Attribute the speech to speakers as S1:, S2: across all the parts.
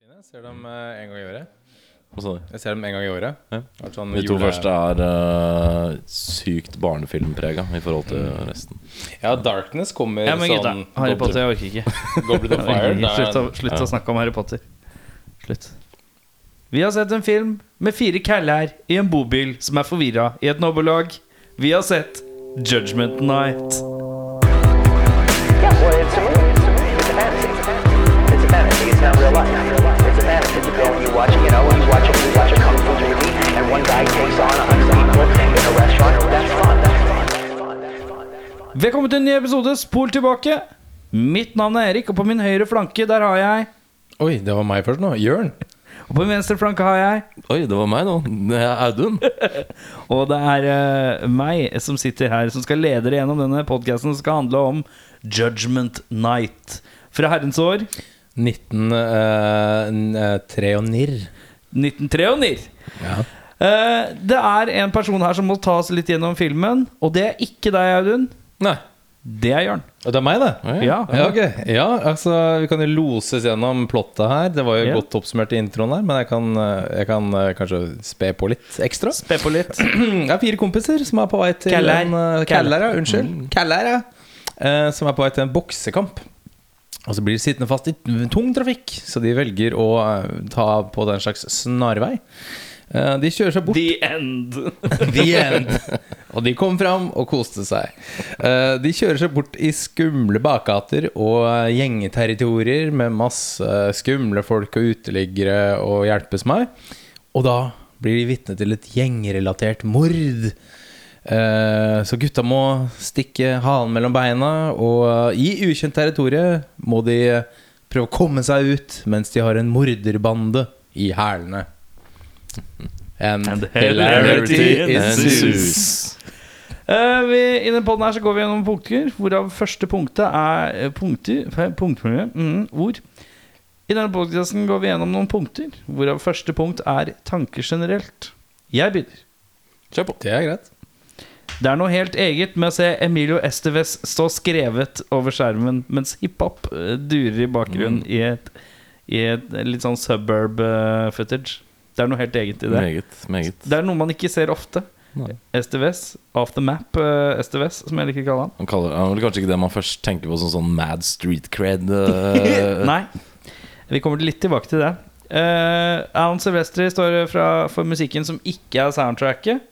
S1: Jeg ser dem eh, en gang i året.
S2: Hva sa du?
S1: Jeg ser dem en gang i året.
S2: Ja.
S1: Det er sånn
S2: De to
S1: jule-
S2: første er eh, sykt barnefilmprega i forhold til
S3: Mm.
S2: resten.
S1: Ja, Darkness kommer
S3: Jeg må gi deg.
S1: sånn
S3: Harry
S1: Goblin-
S3: Potter, jeg orker ikke.
S1: Goblin of Fire. det er-
S3: Slutt, å, slutt å snakke om Harry Potter. Slutt. Vi har sett en film med fire kæller i en bobil som er forvirra i et nabolag. Vi har sett Judgment Night.
S4: Yeah, well, it's a movie. It's a movie. It's a fantasy. It's a fantasy. It's not real life. It's a fantasy. It's a film. You watch, you know, you watch a, you watch a kung fu movie, and one guy takes on a hundred people in a restaurant. That's fun. That's fun. That's fun. That's fun. That's fun.
S3: Velkommen til en ny episode Spol tilbake. Mitt navn er Erik, og på min høyre flanke der har jeg
S1: Oi, det var meg først nå. Jørn.
S3: Og på min venstre flanke har jeg
S2: Oi, det var meg nå. Det er Audun.
S3: Og det er eh, meg som sitter her, som skal lede dere gjennom denne podkasten som skal handle om Judgment Night. Fra herrens år
S1: eh, 1903 og nirr.
S3: 1993.
S1: Ja.
S3: Eh, det er en person her som må ta oss litt gjennom filmen, og det er ikke deg, Audun.
S1: Nei.
S3: Det er Jørn.
S1: Og det er meg, det.
S2: Oi.
S3: Ja.
S1: Ja, ok. ja, altså vi kan jo loses gjennom plottet her. Det var jo
S3: Ja.
S1: godt oppsummert i introen her, men jeg kan, eh, jeg kan eh, kanskje spe på litt ekstra.
S3: Spe på litt.
S1: Det er fire kompiser som er på vei til
S3: Keller.
S1: en eh, Keller, ja. Unnskyld. Keller, ja. Eh, som er på vei til en boksekamp. Og så blir de sittende fast i tung trafikk, så de velger å eh, ta på den slags snarvei. Eh, de kjører seg bort
S3: The end.
S1: The end. Og de kom fram og koste seg. Eh, De kjører seg bort i skumle bakgater og eh, gjengeterritorier med masse skumle folk og uteliggere og hjelpes meg. Og da blir de vitne til et gjengrelatert mord. Eh, Så gutta må stikke halen mellom beina, og eh, i ukjent territorium må de eh, prøve å komme seg ut mens de har en morderbande i hælene. And,
S3: And
S2: hilarity ensues.
S3: ensues. Eh, vi, I den podden her så går vi gjennom punkter, hvorav første punktet er eh, punkter, fe- punktmiljø, mm, ord. I denne podcasten går vi gjennom noen punkter, hvorav første punkt er tanker generelt. Jeg begynner.
S1: Kjør på. Det er greit.
S3: Det er noe helt eget med å se Emilio Estevez stå skrevet over skjermen mens hiphop eh, durer i bakgrunnen i, et, i et litt sånn suburb eh, footage. Det er noe helt eget i det.
S2: Meget, meget.
S3: Det er noe man ikke ser ofte.
S2: Nei.
S3: STVS, Off the Map eh, STVS, som jeg liker å kalle han.
S2: Han kaller han er vel kanskje ikke det man først tenker på som sånn mad street cred. eh,
S3: Nei. Vi kommer litt tilbake til det. Eh, Alan Silvestri står fra, for musikken som ikke er soundtracket.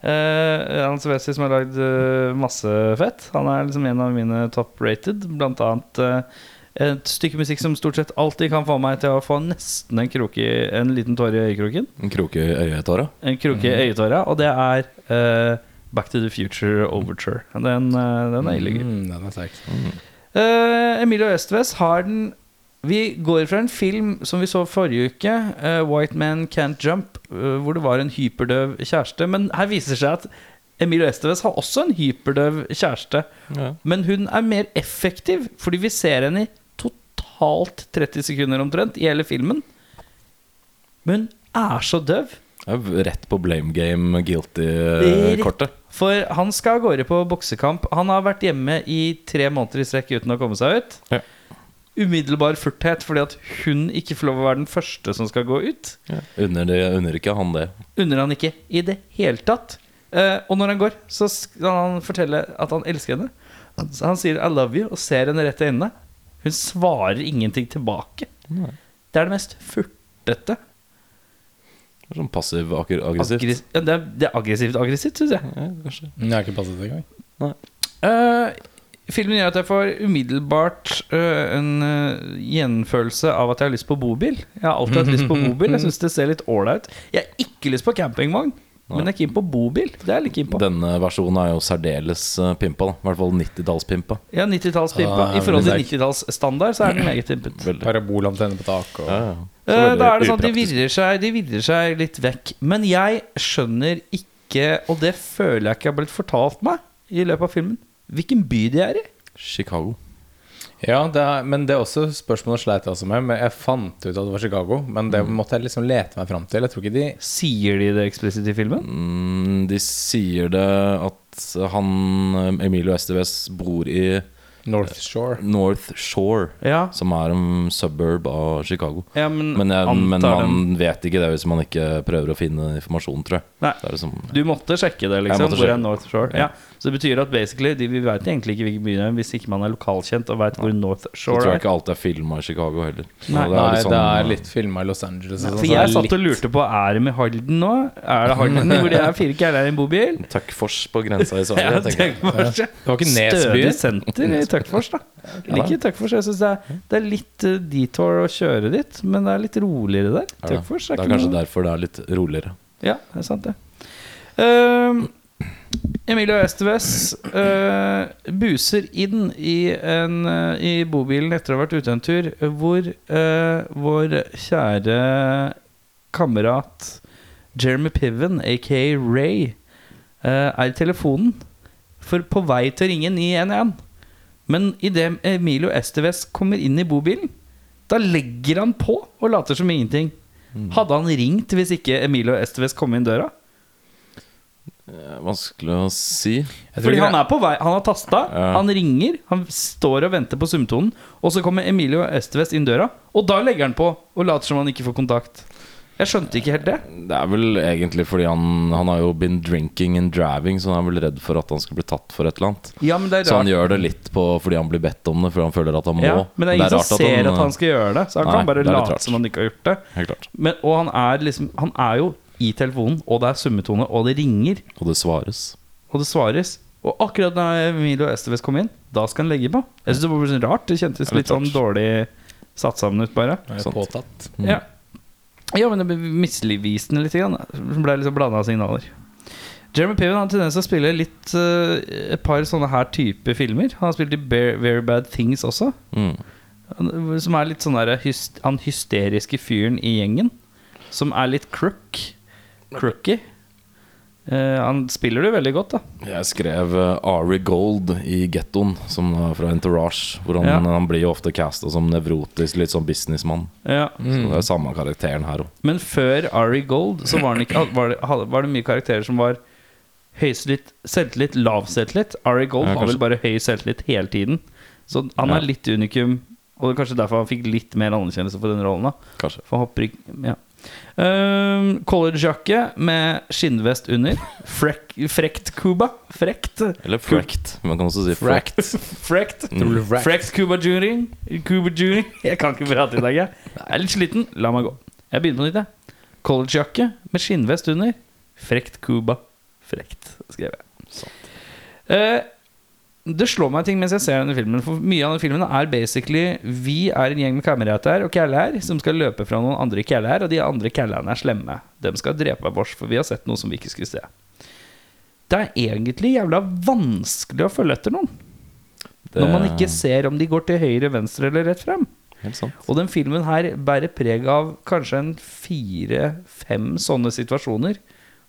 S3: Eh, Alan Silvestri som har lagd eh, masse fett. Han er liksom en av mine top rated. Blant annet eh, et stykke musikk som stort sett alltid kan få meg til å få nesten en, krok i, en liten tåre i øyekroken.
S2: En kroke i øyetåra.
S3: En kroke i øyetåra, og det er eh, Back to the Future Overture. Den, eh, den er ille gøy.
S1: Mm, den er sterk.
S3: Eh, Emilio Estves har den Vi går fra en film som vi så forrige uke, eh, White Man Can't Jump, eh, hvor det var en hyperdøv kjæreste. Men her viser det seg at Emilio Estves har også en hyperdøv kjæreste.
S2: Ja.
S3: Men hun er mer effektiv, fordi vi ser henne i totalt 30 sekunder omtrent i hele filmen. Men hun er så døv.
S2: Rett på blame game eh, guilty-kortet.
S3: For han skal av gårde på boksekamp. Han har vært hjemme i tre måneder i strekk uten å komme seg ut.
S2: Ja.
S3: Umiddelbar furthet, fordi at hun ikke får lov å være den første som skal gå ut.
S2: Ja. Unner, det- unner ikke han det.
S3: Unner han ikke i det hele tatt. Eh, og når han går, så skal han fortelle at han elsker henne. Så Han sier 'I love you' og ser henne rett i øynene. Hun svarer ingenting tilbake. Det er det mest furtete.
S2: Det er Sånn passiv akkur- aggressivt.
S3: Aggres- ja, det, er, det er aggressivt aggressivt, syns jeg.
S2: ja, kanskje.
S1: Jeg har ikke passet det engang.
S3: Eh, filmen gjør at jeg får umiddelbart eh, en eh, gjenfølelse av at jeg har lyst på bobil. Jeg har alltid hatt lyst på bobil. Jeg syns det ser litt ålreit ut. Jeg har ikke lyst på campingvogn, men jeg er keen på bobil. Det er jeg litt keen på.
S2: Denne versjonen er jo særdeles eh, pimpa. da I hvert fall 90-tallspimpa.
S3: Ja, 90-tallspimpa.
S1: Ah,
S3: I forhold til
S1: men
S3: 90-tallsstandard så er den meget pimpet.
S2: Veldig.
S1: Parabolantenne på taket og
S2: Ja, ja. Så
S3: Eh,
S2: veldig
S3: Da er det sånn at de
S2: upraktisk.
S3: virrer seg, de virrer seg litt vekk. Men jeg skjønner ikke, og det føler jeg ikke har blitt fortalt meg i løpet av filmen, hvilken by de er i.
S2: Chicago.
S1: Ja, det er, men det er også spørsmålet sleit jeg også med. Men jeg fant ut at det var Chicago, men det måtte jeg liksom lete meg fram til. Jeg tror ikke de
S3: Sier de det eksplisitt i filmen?
S2: Mm, de sier det at han eh, Emilio Estevez bor i
S1: North Shore.
S2: North Shore,
S3: Ja,
S2: som er en suburb av Chicago.
S3: ja men,
S2: Men, jeg, men
S3: antar
S2: man
S3: dem.
S2: vet ikke det hvis man ikke prøver å finne informasjon, tror jeg.
S3: Nei.
S2: Det er liksom,
S3: Du måtte sjekke det, liksom?
S2: Jeg måtte
S3: Hvor er
S2: sjekke.
S3: North Shore? Ja.
S2: Ja.
S3: Så det betyr at basically de, Vi vet egentlig ikke hvilken by det er hvis ikke man er lokalkjent og veit hvor North
S2: så tror
S3: Shore
S2: jeg
S3: er.
S2: ikke alt er filma i Chicago heller. Så
S3: Nei.
S1: Nei,
S2: litt
S1: det er
S2: sånn,
S1: liksom, eh, litt filma i Los Angeles. og sånn,
S2: altså.
S3: For
S1: så det er
S3: jeg satt og
S1: litt-
S3: lurte på Er de i Halden nå? Er det Halden hvor det er fire kæler i en bobil?
S2: Tøkkfors på grensa i Sverige.
S3: Ja,
S2: tenker jeg.
S3: tenk meg det.
S1: Det var ikke
S3: Stødig
S1: Nesbyen.
S3: senter i Tøkfors, da. Jeg liker Tøkfors. Jeg syns det, er- det er litt eh, detour å kjøre dit, men det er litt roligere
S2: Er
S3: der.
S2: det?
S3: Tøkfors
S2: Det
S3: er
S2: er
S3: ikke
S2: kanskje
S3: noe
S2: derfor det er litt roligere.
S3: Ja, det er sant, det. Ehm, Emilio Estevez eh, buser inn i, en, eh, i bobilen etter å ha vært ute en tur, hvor eh, vår kjære kamerat Jeremy Piven, aka Ray, eh, er i telefonen for på vei til å ringe 911. Men idet Emilio Estevez kommer inn i bobilen, da legger han på og later som ingenting. Hadde han ringt hvis ikke Emilio Estevez kom inn døra?
S2: Eh, Vanskelig å si.
S1: Jeg tror
S3: Fordi
S1: ikke
S3: han er på vei, han har tasta,
S2: Ja.
S3: han ringer, han står og venter på sumtonen, og så kommer Emilio Estevez inn døra, og da legger han på og later som han ikke får kontakt. Jeg skjønte ikke helt det.
S2: Det er vel egentlig fordi han, han har jo been drinking and driving, så han er vel redd for at han skal bli tatt for et eller annet.
S3: Ja, men det er
S2: Så han
S3: rart.
S2: gjør det litt på, fordi han blir bedt om det, fordi han føler at han må.
S3: Ja, men det er ingen som ser at han skal gjøre det, så han
S2: Nei,
S3: kan bare
S2: det er litt
S3: late
S2: rart.
S3: som han ikke har gjort det.
S2: Helt klart.
S3: Men, og han er liksom Han er jo i telefonen, og det er summetone, og det ringer,
S2: Og det svares.
S3: og det svares. Og akkurat da Emilio Estevez kom inn, da skal han legge på. Jeg synes det var sånn rart. Det kjentes
S2: Det er litt
S3: litt sånn dårlig satt sammen ut, bare.
S1: jeg er
S2: sant.
S1: påtatt.
S2: Mm.
S3: Ja. ja, men det ble misvisende litt. Grann, da. det ble liksom blanda signaler. Jeremy Piven har en tendens til å spille litt eh, et par sånne her type filmer. Han har spilt i Bear, Very Bad Things også.
S2: Mm.
S3: Han- Som er litt sånn der hys han hysteriske fyren i gjengen. Som er litt crook. Crooky. Eh, han spiller det veldig godt, da.
S2: Jeg skrev eh, Ari Gold i Gettoen, som er fra Entourage. Hvor han, eh,
S3: Ja.
S2: han blir jo ofte casta som nevrotisk, litt sånn businessmann.
S3: Ja.
S2: Så det er samme karakteren her òg.
S3: Men før Ari Gold så var, han ikke, var, det, hadde- var det mye karakterer som var høy selvtillit, selvtillit, lav selvtillit. Ari Gold
S2: Ja,
S3: har vel
S2: kanskje.
S3: bare høy selvtillit hele tiden. Så han er
S2: Ja.
S3: litt unikum, og det er kanskje derfor han fikk litt mer anerkjennelse for den rollen. da
S2: Kanskje.
S3: For han hopper ikke ja. Ehm, Collegejakke med skinnvest under. Frek, frekt Cuba. Frekt.
S2: Eller Fract. Man kan også si Fract.
S3: Frekt.
S2: Mm.
S1: Tror du Fract?
S3: Frekt Cuba Junior. Cuba Junior. Jeg kan ikke prate i dag, jeg. Jeg er litt sliten. La meg gå. Jeg begynner på nytt, jeg. Collegejakke med skinnvest under. Frekt Cuba. Frekt, skrev jeg. Eh, det slår meg en ting mens jeg ser denne filmen. For mye av denne filmen er basically Vi er en gjeng med kamerater og kæller som skal løpe fra noen andre kæller, og de andre kællerne er slemme. De skal drepe vårs, for vi har sett noe som vi ikke skulle se. Det er egentlig jævla vanskelig å følge etter noen.
S2: Det
S3: Når man
S2: er
S3: ikke ser om de går til høyre, venstre eller rett frem.
S2: Helt sant.
S3: Og den filmen her bærer preg av kanskje en fire-fem sånne situasjoner.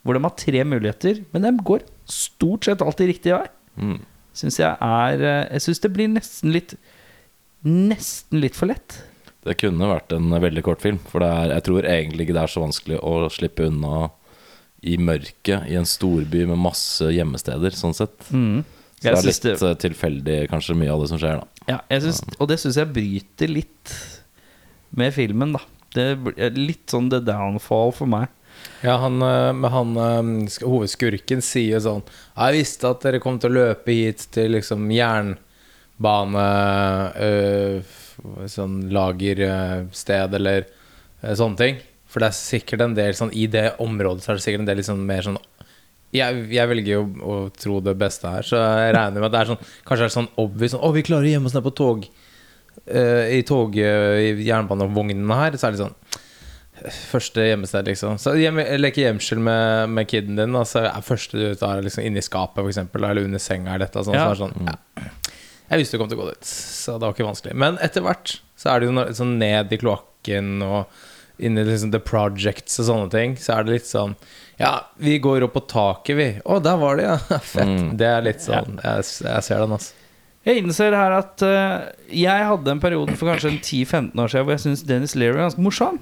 S3: Hvor de har tre muligheter, men de går stort sett alltid riktig vei.
S2: Mm.
S3: Syns jeg er eh, Jeg syns det blir nesten litt Nesten litt for lett.
S2: Det kunne vært en veldig kort film, for det er, jeg tror egentlig ikke det er så vanskelig å slippe unna i mørket i en storby med masse gjemmesteder, sånn sett. Så det
S3: Mm. Jeg
S2: er
S3: syns
S2: litt
S3: det,
S2: eh, tilfeldig kanskje mye av det som skjer, da.
S3: ja, jeg syns, og det syns jeg bryter litt med filmen, da. Det blir litt sånn the downfall for meg.
S1: Ja, han, eh, men han eh, sk- hovedskurken sier jo sånn Jeg visste at dere kom til å løpe hit til liksom jernbane eh, f- Sånn lagersted eller eh, sånne ting. For det er sikkert en del sånn I det området så er det sikkert en del liksom mer sånn jeg, jeg velger jo å tro det beste her, så jeg regner med at det er sånn Kanskje er det sånn obvious sånn Å, vi klarer å gjemme oss ned på tog. eh, I tog eh, I jernbanevognene her, så er det sånn Første gjemmested, liksom. Så hjem, leke gjemsel med, med kiden din. da, så er første du tar, er liksom inni skapet, for eksempel, eller under senga. Eller dette, sånn,
S3: Ja.
S1: så er det sånn, ja. Jeg visste du kom til å gå dit, så det var ikke vanskelig. Men etter hvert så er det jo når- sånn ned i kloakken og inn i liksom The Projects og sånne ting. Så er det litt sånn Ja, vi går opp på taket, vi. Å, der var det, ja. Fett. Det er litt sånn Jeg, jeg ser den, altså.
S3: Jeg innser her at eh, jeg hadde en periode for kanskje en 10-15 år siden hvor jeg syntes Dennis Leary var ganske morsom.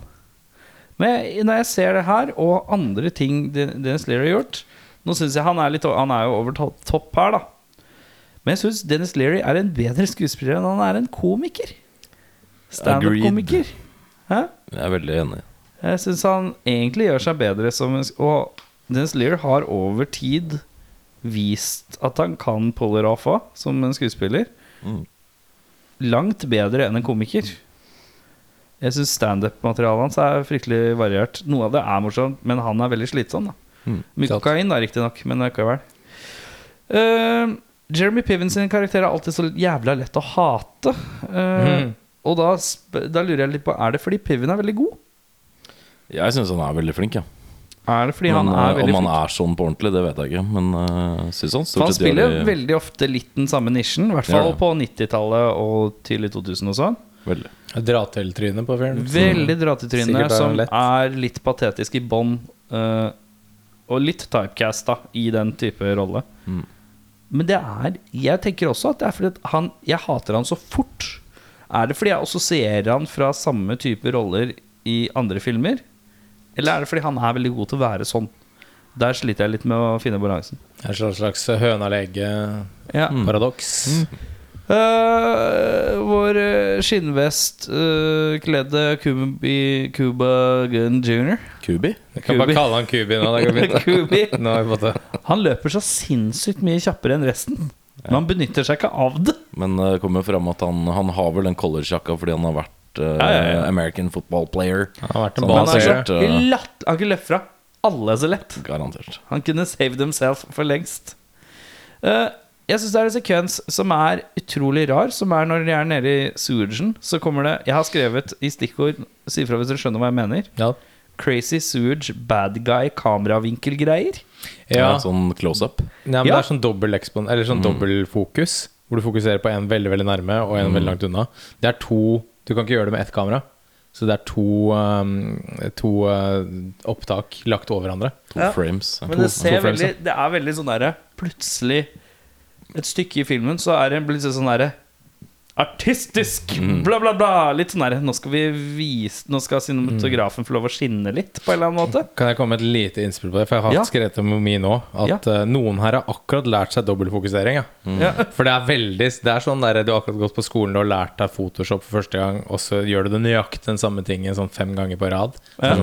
S3: Men jeg, når jeg ser det her, og andre ting Den- Dennis Leary har gjort Nå syns jeg han er litt o- Han er jo over to- topp her, da. Men jeg syns Dennis Leary er en bedre skuespiller enn han er en komiker.
S2: Agreed.
S3: Standup-komiker. Hæ?
S2: Jeg er veldig enig.
S3: Jeg syns han egentlig gjør seg bedre som en Og Dennis Lear har over tid vist at han kan pulle off òg, som en skuespiller.
S2: Mm.
S3: Langt bedre enn en komiker. Jeg syns standup-materialet hans er fryktelig variert. Noe av det er morsomt, men han er veldig slitsom. da
S2: Mm,
S3: Mye
S1: sant.
S3: kokain, da, riktignok, men likevel. Eh, Jeremy Piven sin karakter er alltid så jævla lett å hate. Eh,
S1: Mhm.
S3: Og da, sp- da lurer jeg litt på Er det fordi Piven er veldig god?
S2: Jeg syns han er veldig flink, ja.
S3: Er det fordi
S2: Men,
S3: han er
S2: eh,
S3: veldig
S2: om han
S3: flink?
S2: er sånn på ordentlig, det vet jeg ikke. Men eh, synes han
S3: For
S2: stort
S3: han
S2: sett
S3: spiller
S2: gjør det
S3: veldig ofte litt den samme nisjen, i hvert
S2: Gjør
S3: fall
S2: det.
S3: på 90-tallet og tidlig 2000 og sånn.
S2: veldig.
S1: Dra til trynet på film. Mm.
S3: Veldig
S1: Sikkert er
S3: dratetryne
S1: det
S3: som
S1: lett.
S3: er litt patetisk i bånn. eh, og litt typecast da, i den type rolle.
S2: Mm.
S3: Men det er Jeg tenker også at det er fordi at han, jeg hater han så fort. Er det fordi jeg assosierer han fra samme type roller i andre filmer? Eller er det fordi han er veldig god til å være sånn? Der sliter jeg litt med å finne balansen. Mm.
S1: Det er et slags høna-lege-paradoks.
S3: Ja. Eh, vår eh, skinnvest eh, kledde Kubi, Cuba Gunn jr.
S2: Kubi?
S1: Jeg kan bare
S3: Kubi.
S1: kalle han Kubi nå. Det går fint.
S3: Kubi.
S1: Nå har vi fått det.
S3: Han løper så sinnssykt mye kjappere enn resten. Men han benytter seg ikke av det.
S2: Men eh, det kommer jo fram at han, han har vel den collegejakka fordi han har vært eh,
S3: Ja, ja, ja.
S2: American football player.
S1: Han har vært en
S2: Sånn,
S1: bra
S3: Han, er så
S1: seer.
S2: sikkert, eh,
S3: latt, han kunne løpt fra alle så lett.
S2: Garantert.
S3: Han kunne saved himself for lengst. Eh, jeg syns det er en sekvens som er utrolig rar, som er når de er nede i sewagen. Så kommer det Jeg har skrevet i stikkord, si ifra hvis dere skjønner hva jeg mener.
S1: Ja.
S3: Crazy sewage, bad guy, kameravinkelgreier.
S1: Ja.
S2: Ja. Sånn close up.
S1: Nei, men
S3: Ja. Mm.
S1: Det er sånn dobbel ekspon Eller sånn dobbel fokus Hvor du fokuserer på en veldig veldig nærme Og en veldig langt unna Det er to Du kan ikke gjøre det med ett kamera Så det er to, um, to uh, opptak lagt over hverandre
S2: To
S3: Ja.
S2: frames.
S3: Men det,
S2: To-
S3: ser
S1: to
S3: veldig,
S1: følelser.
S3: det er veldig sånn derre Plutselig, et stykke i filmen, så er det plutselig sånn derre Artistisk! Bla, bla, bla! Litt sånn derre Nå skal vi vise Nå skal cinematografen få lov å skinne litt, på en eller annen måte.
S1: Kan jeg komme med et lite innspill på det For jeg har
S3: Ja.
S1: skrevet om mye nå At uh, noen her har akkurat lært seg dobbeltfokusering ja.
S3: Ja.
S1: For det er veldig Det er sånn der Du har akkurat gått på skolen og lært deg Photoshop for første gang Og så gjør du det nøyaktig den samme tingen Sånn fem ganger på rad
S3: Ja.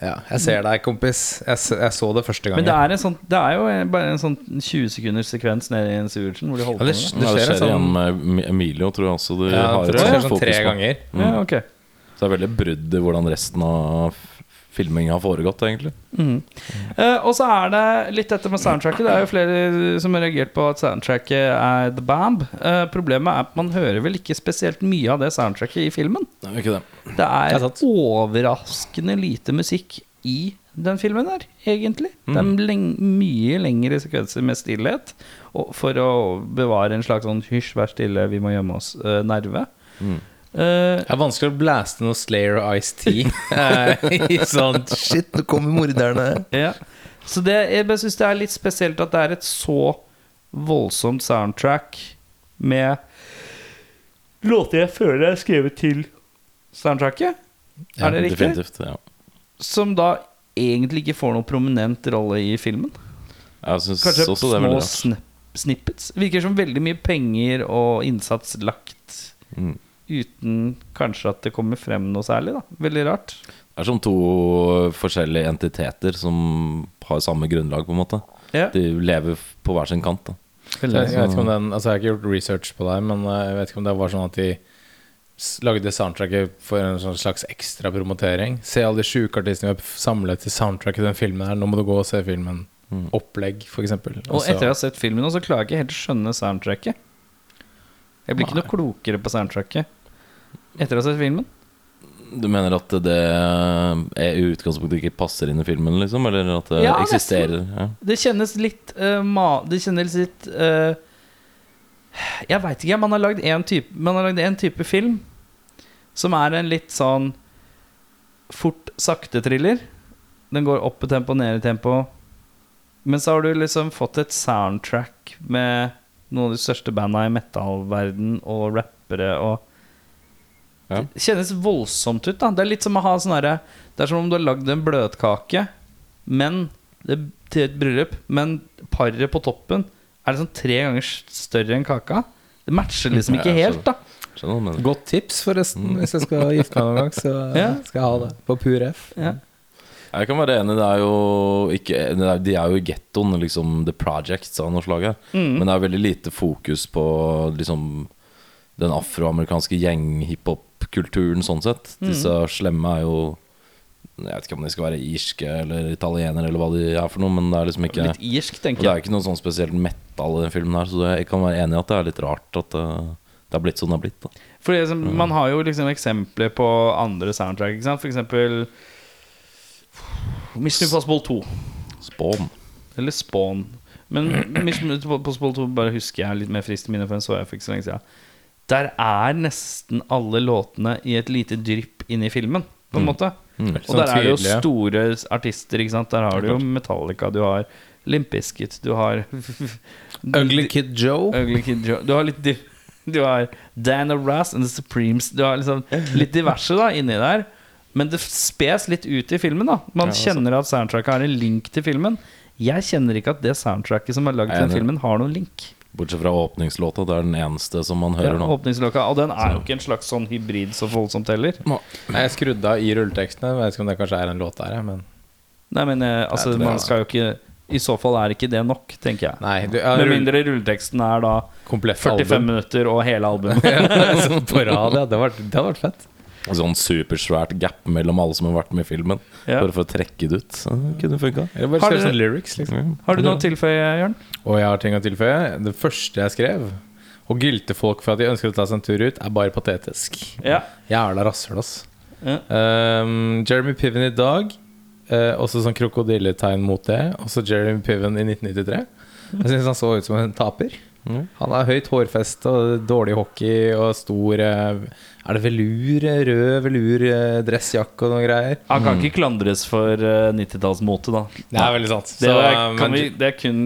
S1: ja, Jeg ser deg kompis Jeg, s- jeg så det første
S3: Men
S1: gangen
S3: det er, en sånn, det er jo en- bare en sånn 20 sekunders sekvens nede i en Sivertsen hvor de
S1: Ja,
S3: holder på
S1: det,
S3: med det.
S1: det
S2: ja, det
S1: skjer en
S2: skjer
S1: sånn
S2: igjen med Emilio, tror jeg også. Du
S1: Ja,
S2: har
S1: jeg tror
S2: et
S1: det
S2: sånt
S1: skjer sånn tre
S2: fokus på.
S1: ganger.
S3: Ja, ok
S2: Så det er veldig brudd i hvordan resten av filminga har foregått, egentlig.
S3: Eh, og så er det litt dette med soundtracket. Det er jo flere som har reagert på at soundtracket er The Bamb. Eh, problemet er at man hører vel ikke spesielt mye av det soundtracket i filmen.
S2: Det er ikke det.
S3: Det er,
S1: Det er sant.
S3: overraskende lite musikk i den filmen der, egentlig. Det
S2: Mm.
S3: er leng mye lengre sekvenser med stillhet og for å bevare en slags sånn 'hysj, vær stille, vi må gjemme oss'-nerve.
S2: Mm.
S3: Eh,
S1: Det er vanskelig å blaste noe Slayer og Ice-T i sånn Shit, nå kommer morderne.
S3: Ja. Så det, jeg bare syns det er litt spesielt at det er et så voldsomt soundtrack med låter jeg føler er skrevet til soundtracket, er det riktig?
S2: Definitivt. Ja.
S3: Som da egentlig ikke får noen prominent rolle i filmen.
S2: Jeg syns
S3: Kanskje
S2: også det er
S3: små
S2: veldig rart.
S3: snip- snippets. Virker som veldig mye penger og innsats lagt
S2: Mm.
S3: uten kanskje at det kommer frem noe særlig, da. Veldig rart.
S2: Det er som to forskjellige entiteter som har samme grunnlag, på en måte.
S3: Ja.
S2: De lever på hver sin kant. da
S1: Jeg vet ikke om den, altså jeg har ikke gjort research på deg, men eh, jeg vet ikke om det var sånn at de s- lagde soundtracket for en sånn slags ekstra promotering. Se alle de sjuke artistene vi har samlet til soundtracket i den filmen her, nå må du gå og se filmen. Opplegg, for eksempel. Altså-
S3: Og
S1: så-
S3: etter jeg har sett filmen, også, så klarer jeg ikke helt å skjønne soundtracket. Jeg blir ikke noe klokere på soundtracket etter å ha sett filmen.
S2: Du mener at det er i utgangspunktet ikke passer inn i filmen, liksom? Eller at det
S3: Ja, nesten.
S2: eksisterer? Ja.
S3: Det kjennes litt eh, ma Det kjennes litt eh, Jeg veit ikke. Man har lagd én type, man har lagd en type film som er en litt sånn fort-sakte-thriller. Den går opp i tempo, ned i tempo. Men så har du liksom fått et soundtrack med noen av de største banda i metallverden og rappere og
S2: Ja.
S3: Det kjennes voldsomt ut, da. Det er litt som å ha sånn herre Det er som om du har lagd en bløtkake men det, til et bryllup, men paret på toppen er liksom tre ganger s- større enn kaka. Det matcher liksom ikke
S2: Ja, altså,
S3: helt, da.
S2: Skjønner du hva jeg mener?
S1: Godt tips, forresten. Hvis jeg skal gifte meg noen gang, så
S3: Ja.
S1: skal jeg ha det på pur F.
S3: Ja.
S2: Jeg kan være enig, det er jo ikke, det er, De er jo i gettoen, liksom The Projects av noe slag her.
S3: Mm.
S2: Men det er veldig lite fokus på liksom den afroamerikanske gjeng-hiphop-kulturen sånn sett.
S3: Mm.
S2: Disse slemme er jo Jeg vet ikke om de skal være irske eller italienere eller hva de er for noe, men det er liksom ikke
S3: Litt irsk,
S2: Og det
S3: tenker
S2: er
S3: jeg.
S2: jo ikke noe sånn spesielt metal i den filmen her, så jeg kan være enig i at det er litt rart at eh, det har blitt sånn det har blitt. da
S3: For det er som- man har jo liksom eksempler på andre soundtrack, ikke sant? For eksempel Mission Impossible 2.
S2: Spawn.
S3: Eller Spawn. Men Mission Impossible 2 bare husker jeg litt mer frist i minne, for den så jeg for ikke så lenge siden. Der er nesten alle låtene i et lite drypp inn i filmen, på en måte.
S2: Mm.
S3: Og
S1: Sånn
S3: der er det jo
S1: tydelig, ja.
S3: store artister, ikke sant. Der har du jo Metallica, du har Limp Bizkit, du har
S1: Ugly Kid Joe.
S3: Ugly Kid Joe. Du har litt di- Du har Dan Rass and The Supremes. Du har liksom litt diverse da inni der. Men det spes litt ut i filmen. da Man
S1: altså.
S3: kjenner at soundtracket har en link til filmen. Jeg kjenner ikke at det soundtracket som er lagd til den
S2: Enig.
S3: filmen, har noen link.
S2: Bortsett fra åpningslåta, det er den eneste som man
S3: Ja,
S2: hører nå.
S3: åpningslokka. Og den er jo ikke en slags sånn hybrid så voldsomt heller.
S1: Nei, Jeg skrudde av i rulletekstene. Jeg vet ikke om det kanskje er en låt der, jeg, men
S3: Nei, men eh, altså,
S1: det er-
S3: man skal jo ikke I så fall er ikke det nok, tenker jeg.
S1: Nei, du, ja,
S3: Med
S1: rull-
S3: mindre rulleteksten er da
S1: komplett
S3: 45
S1: album.
S3: minutter og hele albumet.
S1: Så på rad, ja. Det hadde vært, det hadde vært fett.
S2: En sånn supersvært gap mellom alle som har vært med i filmen.
S3: Ja.
S2: Bare for å trekke det ut. Så det kunne funka.
S1: Eller bare
S3: Har
S1: skrive
S3: dere-
S1: sånn lyrics, liksom.
S3: Har du noe å tilføye, Jørn?
S1: Og jeg har ting å tilføye. Det første jeg skrev, å gylte folk for at de ønsker å ta seg en tur ut, er bare patetisk.
S3: Ja.
S1: Jævla rasshøl, ass.
S3: Ja.
S1: Ehm, Jeremy Piven i dag, eh, også sånn krokodilletegn mot det. Også Jeremy Piven i 1993. Jeg syns han så ut som en taper.
S2: Mhm.
S1: Han har høyt hårfeste og dårlig hockey og stor eh, Er det velur? eh, Rød velur eh, dressjakke og noen greier.
S3: Han kan ikke klandres for eh, 90-tallsmote, da.
S1: Det er veldig sant.
S3: Det,
S1: Så,
S3: er-
S1: eh,
S3: kan
S1: men-
S3: vi, det, er kun,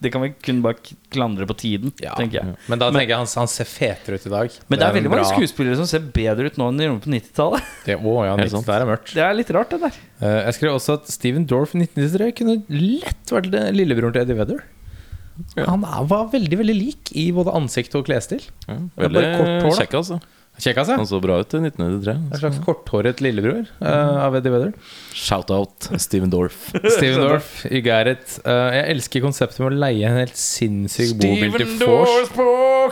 S3: det kan vi kun bare k- klandre på tiden,
S1: Ja.
S3: tenker jeg.
S1: Men da tenker jeg han, han ser fetere ut i dag.
S3: Men det er veldig
S1: en
S3: mange
S1: bra-
S3: skuespillere som ser bedre ut nå enn de gjorde på 90-tallet.
S1: Det, å, ja,
S2: Helt
S1: niks.
S2: sant.
S1: Det er mørkt.
S3: Det er litt rart, det der.
S1: Eh, jeg skrev også at Steven Dorff i 1993 kunne lett vært det lillebroren til Eddie Weather. Han er, var veldig veldig lik i både ansikt og klesstil.
S2: Ja,
S1: er
S2: veldig
S1: bare kort hår, da.
S2: kjekk, altså.
S1: Kjekk av seg.
S2: Han så bra ut i
S1: En
S2: 1993.
S1: slags korthåret lillebror eh, av Eddie Weather.
S2: Shout-out Steven Dorff.
S1: Steven Dorff, you got it. Eh, jeg elsker konseptet med å leie en helt sinnssyk bobil til vors.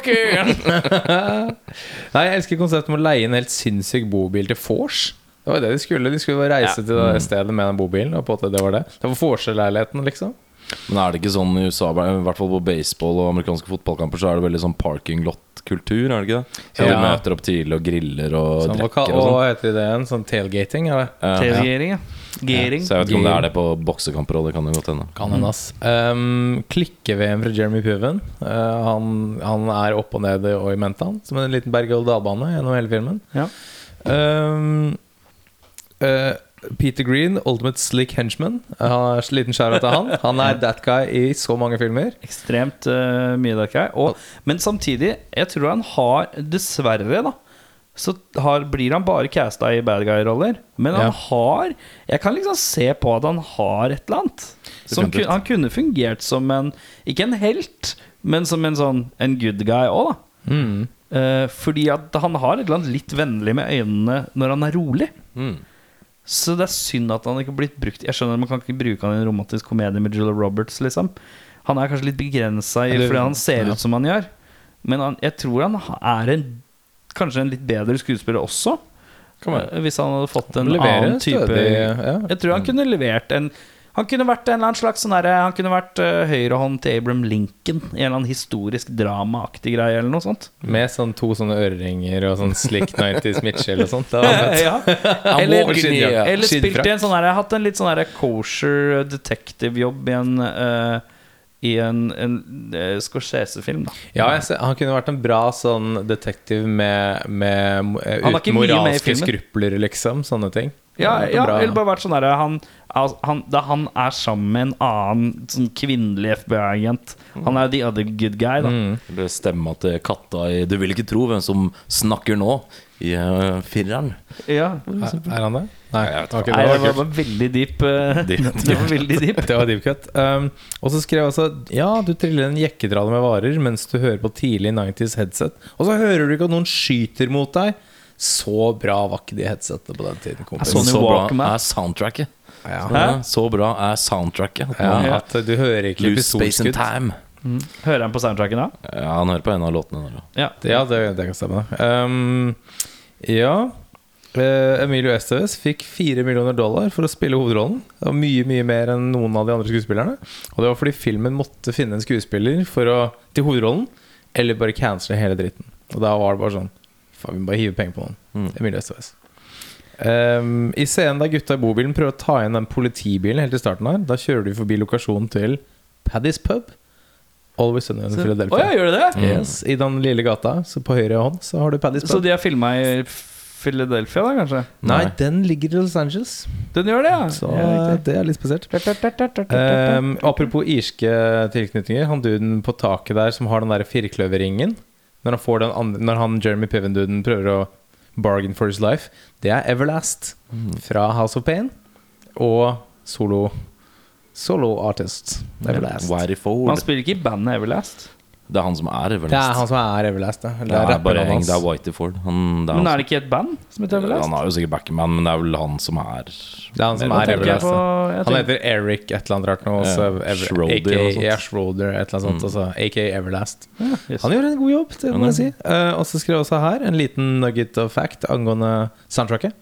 S1: Nei, jeg elsker konseptet med å leie en helt sinnssyk bobil til vors. Det var jo det de skulle. De skulle bare reise til det stedet med den bobilen. Og på at det var det Det var vorseleiligheten, liksom.
S2: Men er det ikke sånn i USA, i hvert fall på baseball og amerikanske fotballkamper, så er det veldig sånn parking-lot-kultur, er det ikke det? Så
S1: Ja.
S2: de møter opp tidlig og griller og
S1: Sånn, hva, ka-
S2: drikker
S1: og
S2: og sånn.
S1: hva heter det igjen? Sånn tailgating? Eller?
S2: Ja, ja.
S3: Tailgering, ja. Gering.
S2: Så jeg vet ikke om det er det på boksekamper òg, det kan jo godt hende.
S1: Kan hende, ass. Um, Klikke-VM fra Jeremy Piven. Uh, han, han er opp og ned og i mente, han. Som en liten berg-og-dal-bane gjennom hele filmen.
S3: Ja.
S1: Um, uh, Peter Green, Ultimate Slick Henchman. Jeg har en liten skjæra til han. Han er that guy i så mange filmer.
S3: Ekstremt eh, mye dark guy. Og, men samtidig, jeg tror han har Dessverre, da. Så har, blir han bare casta i bad guy-roller. Men han
S1: Ja.
S3: har Jeg kan liksom se på at han har et eller annet. Som kun,
S2: Definitivt.
S3: han kunne fungert som en Ikke en helt, men som en sånn En good guy òg, da. Eh, fordi at han har et eller annet litt vennlig med øynene når han er rolig.
S1: Mm.
S3: Så det er synd at han ikke har blitt brukt. Jeg skjønner at Man kan ikke bruke han i en romantisk komedie med Julia Roberts. liksom Han er kanskje litt begrensa i
S1: Eller-
S3: fordi han ser
S1: ja.
S3: ut som han gjør. Men han, jeg tror han er en kanskje en litt bedre skuespiller også.
S1: Kan være.
S3: eh, Hvis han hadde fått en
S1: Leverer
S3: annen type
S1: stødig, ja. Mm.
S3: Jeg tror han kunne levert en Han kunne vært en eller annen slags sånn derre- Han kunne vært eh, høyrehånd til Abraham Lincoln i en eller annen historisk dramaaktig greie eller noe sånt.
S1: Med sånn to sånne øreringer og sånn slick 90s Mitchell og sånt. Det var fett.
S3: ja.
S1: walking
S3: Eller,
S1: here.
S3: eller spilt
S1: Skinnfrakk.
S3: i en sånn her Hatt en litt sånn her kosher detective-jobb i en eh, I en, en eh, Scorsese-film, da.
S1: Ja, jeg ser, han kunne vært en bra sånn detektiv med, med eh,
S3: Han er
S1: uten
S3: ikke mye med i
S1: moralske
S3: filmen.
S1: skrupler, liksom. Sånne ting.
S3: Ja,
S1: Det er
S3: ja
S1: bra.
S3: eller bare vært sånn der han, al- han, Da han er sammen med en annen sånn kvinnelig FBI-agent Han er jo the other good guy, da.
S1: Mm.
S2: Eller stemma til eh, katta i Du vil ikke tro hvem som snakker nå, i eh, fireren.
S3: Ja.
S1: Er, er han det? Nei,
S2: Jeg vet
S1: ok,
S3: Nei,
S1: det
S3: det
S1: var
S3: var
S1: kult.
S3: bare veldig deep. eh,
S2: Deep.
S3: det var veldig deep.
S1: Det var deep cut. Um, og så skrev jeg altså Ja, du triller en jekkedrale med varer mens du hører på tidlig 90s headset, og så hører du ikke at noen skyter mot deg. Så bra var ikke de headsetene på den tiden, kompis.
S3: Sony
S2: så bra
S3: Walkman.
S2: er soundtracket.
S1: Ja.
S2: Så, så bra er soundtracket. At man
S1: Ja, at du hører ikke
S2: Lose space and
S1: episodeskudd.
S2: time.
S3: Hører han på soundtracken da?
S2: Ja, han hører på en av låtene der.
S3: Ja.
S1: Ja, det, det kan stemme. det. Um, ja eh, Emilio Estevez fikk fire millioner dollar for å spille hovedrollen. Det var Mye mye mer enn noen av de andre skuespillerne. Og det var fordi filmen måtte finne en skuespiller for å, til hovedrollen, eller bare cancele hele dritten. Og da var det bare sånn Faen, vi må bare hive penger på noen.
S3: Mm.
S1: Emilio Estevez. Um, I scenen der gutta i bobilen prøver å ta igjen den politibilen helt i starten her, da kjører de forbi lokasjonen til Paddy's Pub. Always Sunny in
S3: Å
S1: Philadelphia.
S3: ja, gjør det det?
S1: Yes, I den lille gata så på høyre hånd Mm. så har du Paddy's
S3: Så
S1: Pub.
S3: de har filma i Philadelphia, da, kanskje?
S1: Nei, den ligger i Los Angeles,
S3: Den gjør det, ja.
S1: så eh,
S3: ja
S1: det er litt spesielt.
S3: riktig.
S1: Ehm, apropos irske tilknytninger. Han duden på taket der som har den der firkløverringen Når han, får den andre, når han Jeremy Piven-duden prøver å bargain for his life, det er Everlast fra House of Pain og solo Solo artist. Everlast.
S2: Wary
S3: Man
S2: Ford.
S3: spiller ikke i bandet Everlast.
S2: Det er han som er Everlast.
S1: Det er han som er Everlast, ja. Eller
S2: det er bare
S1: rappernavnet
S2: heng,
S1: hans.
S2: det er Whitey Ford. Han, det er
S3: Men er
S2: han,
S3: det ikke et band som heter
S2: som-
S3: Everlast?
S2: han er jo sikkert backman, men det er vel han som er
S1: Det er han som
S2: Hva
S1: er
S2: tenker
S1: Everlast.
S2: jeg
S3: på?
S1: ja.
S3: Jeg
S1: Han
S3: tenker-
S1: heter Eric et eller annet rart nå.
S2: Ja,
S1: så Ever-
S2: Schroeder
S1: AK,
S2: og sånt.
S1: ja, Schroeder et eller annet sånt. Altså, AK Everlast.
S3: Yes.
S1: Han gjør en god jobb, det må jeg si. Eh, og så skrev jeg også her en liten nugget of fact angående soundtracket.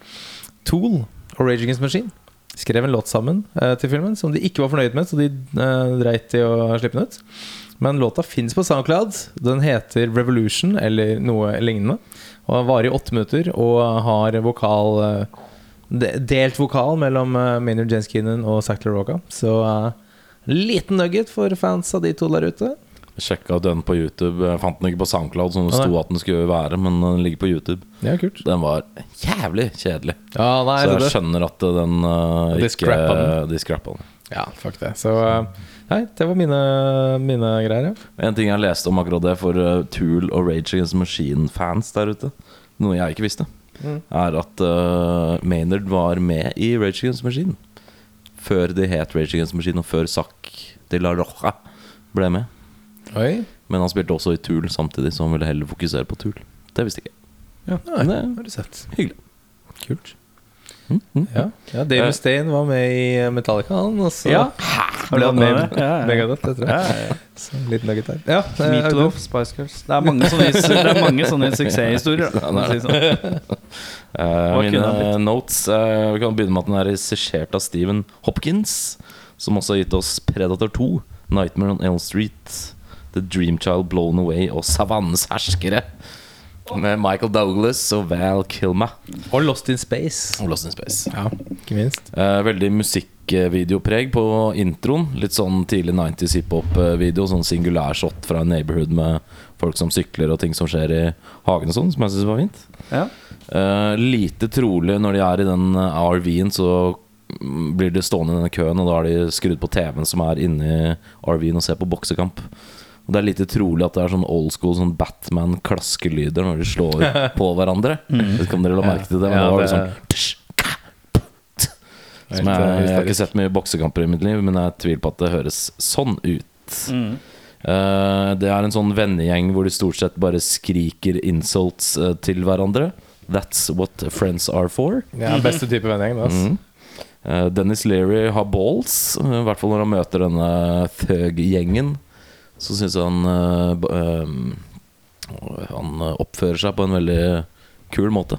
S1: Tool og Rage Against the Machine skrev en låt sammen eh, til filmen som de ikke var fornøyd med, så de eh, dreit i å slippe den ut. Men låta fins på SoundCloud. Den heter Revolution eller noe lignende. Og den varer i åtte minutter og har vokal eh, de- Delt vokal mellom eh, Maynard James Keenan og Zack LaRocca. Så eh, liten nugget for fans av de to der ute.
S2: Sjekka den på YouTube. Jeg fant den ikke på SoundCloud, som det
S1: Nei.
S2: sto at den skulle være, men den ligger på YouTube.
S1: Ja, kult.
S2: Den var jævlig kjedelig.
S1: Ja, nei,
S2: Så
S1: det-
S2: jeg skjønner at den uh,
S1: De
S2: ikke
S1: scrappa den.
S2: De scrappa den.
S1: Ja, fuck det. Så eh, Nei, det var mine, mine greier, ja.
S2: En ting jeg leste om akkurat det for eh, Tool og Rage Against the Machine-fans der ute, noe jeg ikke visste, er at eh, Maynard var med i Rage Against the Machine. Før de het Rage Against the Machine, og før Zac de la Roja ble med.
S1: Oi.
S2: Men han spilte også i Tool samtidig, så han ville heller fokusere på Tool. Det visste ikke jeg.
S1: Ja, eh, nei,
S2: det
S1: har du sett.
S2: Hyggelig.
S1: Kult.
S2: Mm, mm.
S1: Ja, ja Dave
S2: Eh.
S1: Mustaine var med i eh, Metallica, han. Og så
S3: Ja.
S1: ble han med i
S3: Ja, ja, ja.
S1: Megadeth, det tror jeg.
S3: Ja, ja, ja.
S1: Så en liten nugget der. Ja, eh,
S3: Meatloaf, Spice Girls Det er mange sånne, det er mange sånne suksesshistorier. da, for å si det sånn.
S2: Eh,
S3: Hva
S2: mine
S3: kunne han blitt?
S2: notes eh, Vi kan begynne med at den er regissert av Stephen Hopkins, som også har gitt oss Predator 2, Nightmare on Elm Street, The Dreamchild Blown Away og Savannens herskere. Med Michael Douglas og Val Kilma.
S1: Audun- og Lost in Space.
S2: Og Lost in Space.
S1: Ja, ikke minst.
S2: Eh, veldig musikkvideopreg på introen. Litt sånn tidlig 90s hiphop-video. Sånn singulær shot fra en neighborhood med folk som sykler og ting som skjer i hagen og sånn, som jeg syns var fint.
S3: Ja.
S2: Eh, lite trolig når de er i den eh, RV-en, så mm, blir de stående i denne køen, og da har de skrudd på TV-en som er inni RV-en og ser på boksekamp. Og Det er lite trolig at det er sånn old school sånn Batman-klaskelyder når de slår på hverandre. Jeg vet ikke om dere la merke til det, men
S1: Ja,
S2: det var
S1: det-
S2: liksom tsh, ka, p, t. som jeg,
S1: Helt, eh,
S2: jeg har
S1: hysterisk.
S2: ikke sett mye boksekamper i mitt liv, men jeg tviler på at det høres sånn ut.
S3: Mm.
S2: Eh, det er en sånn vennegjeng hvor de stort sett bare skriker insults eh, til hverandre. That's what friends are for.
S1: Ja, beste type vennegjeng, det. ass.
S2: Mm. Eh, Dennis Leary har balls, eh, i hvert fall når han møter denne thug-gjengen. Så syns jeg han eh, b- eh, Han eh, oppfører seg på en veldig kul måte.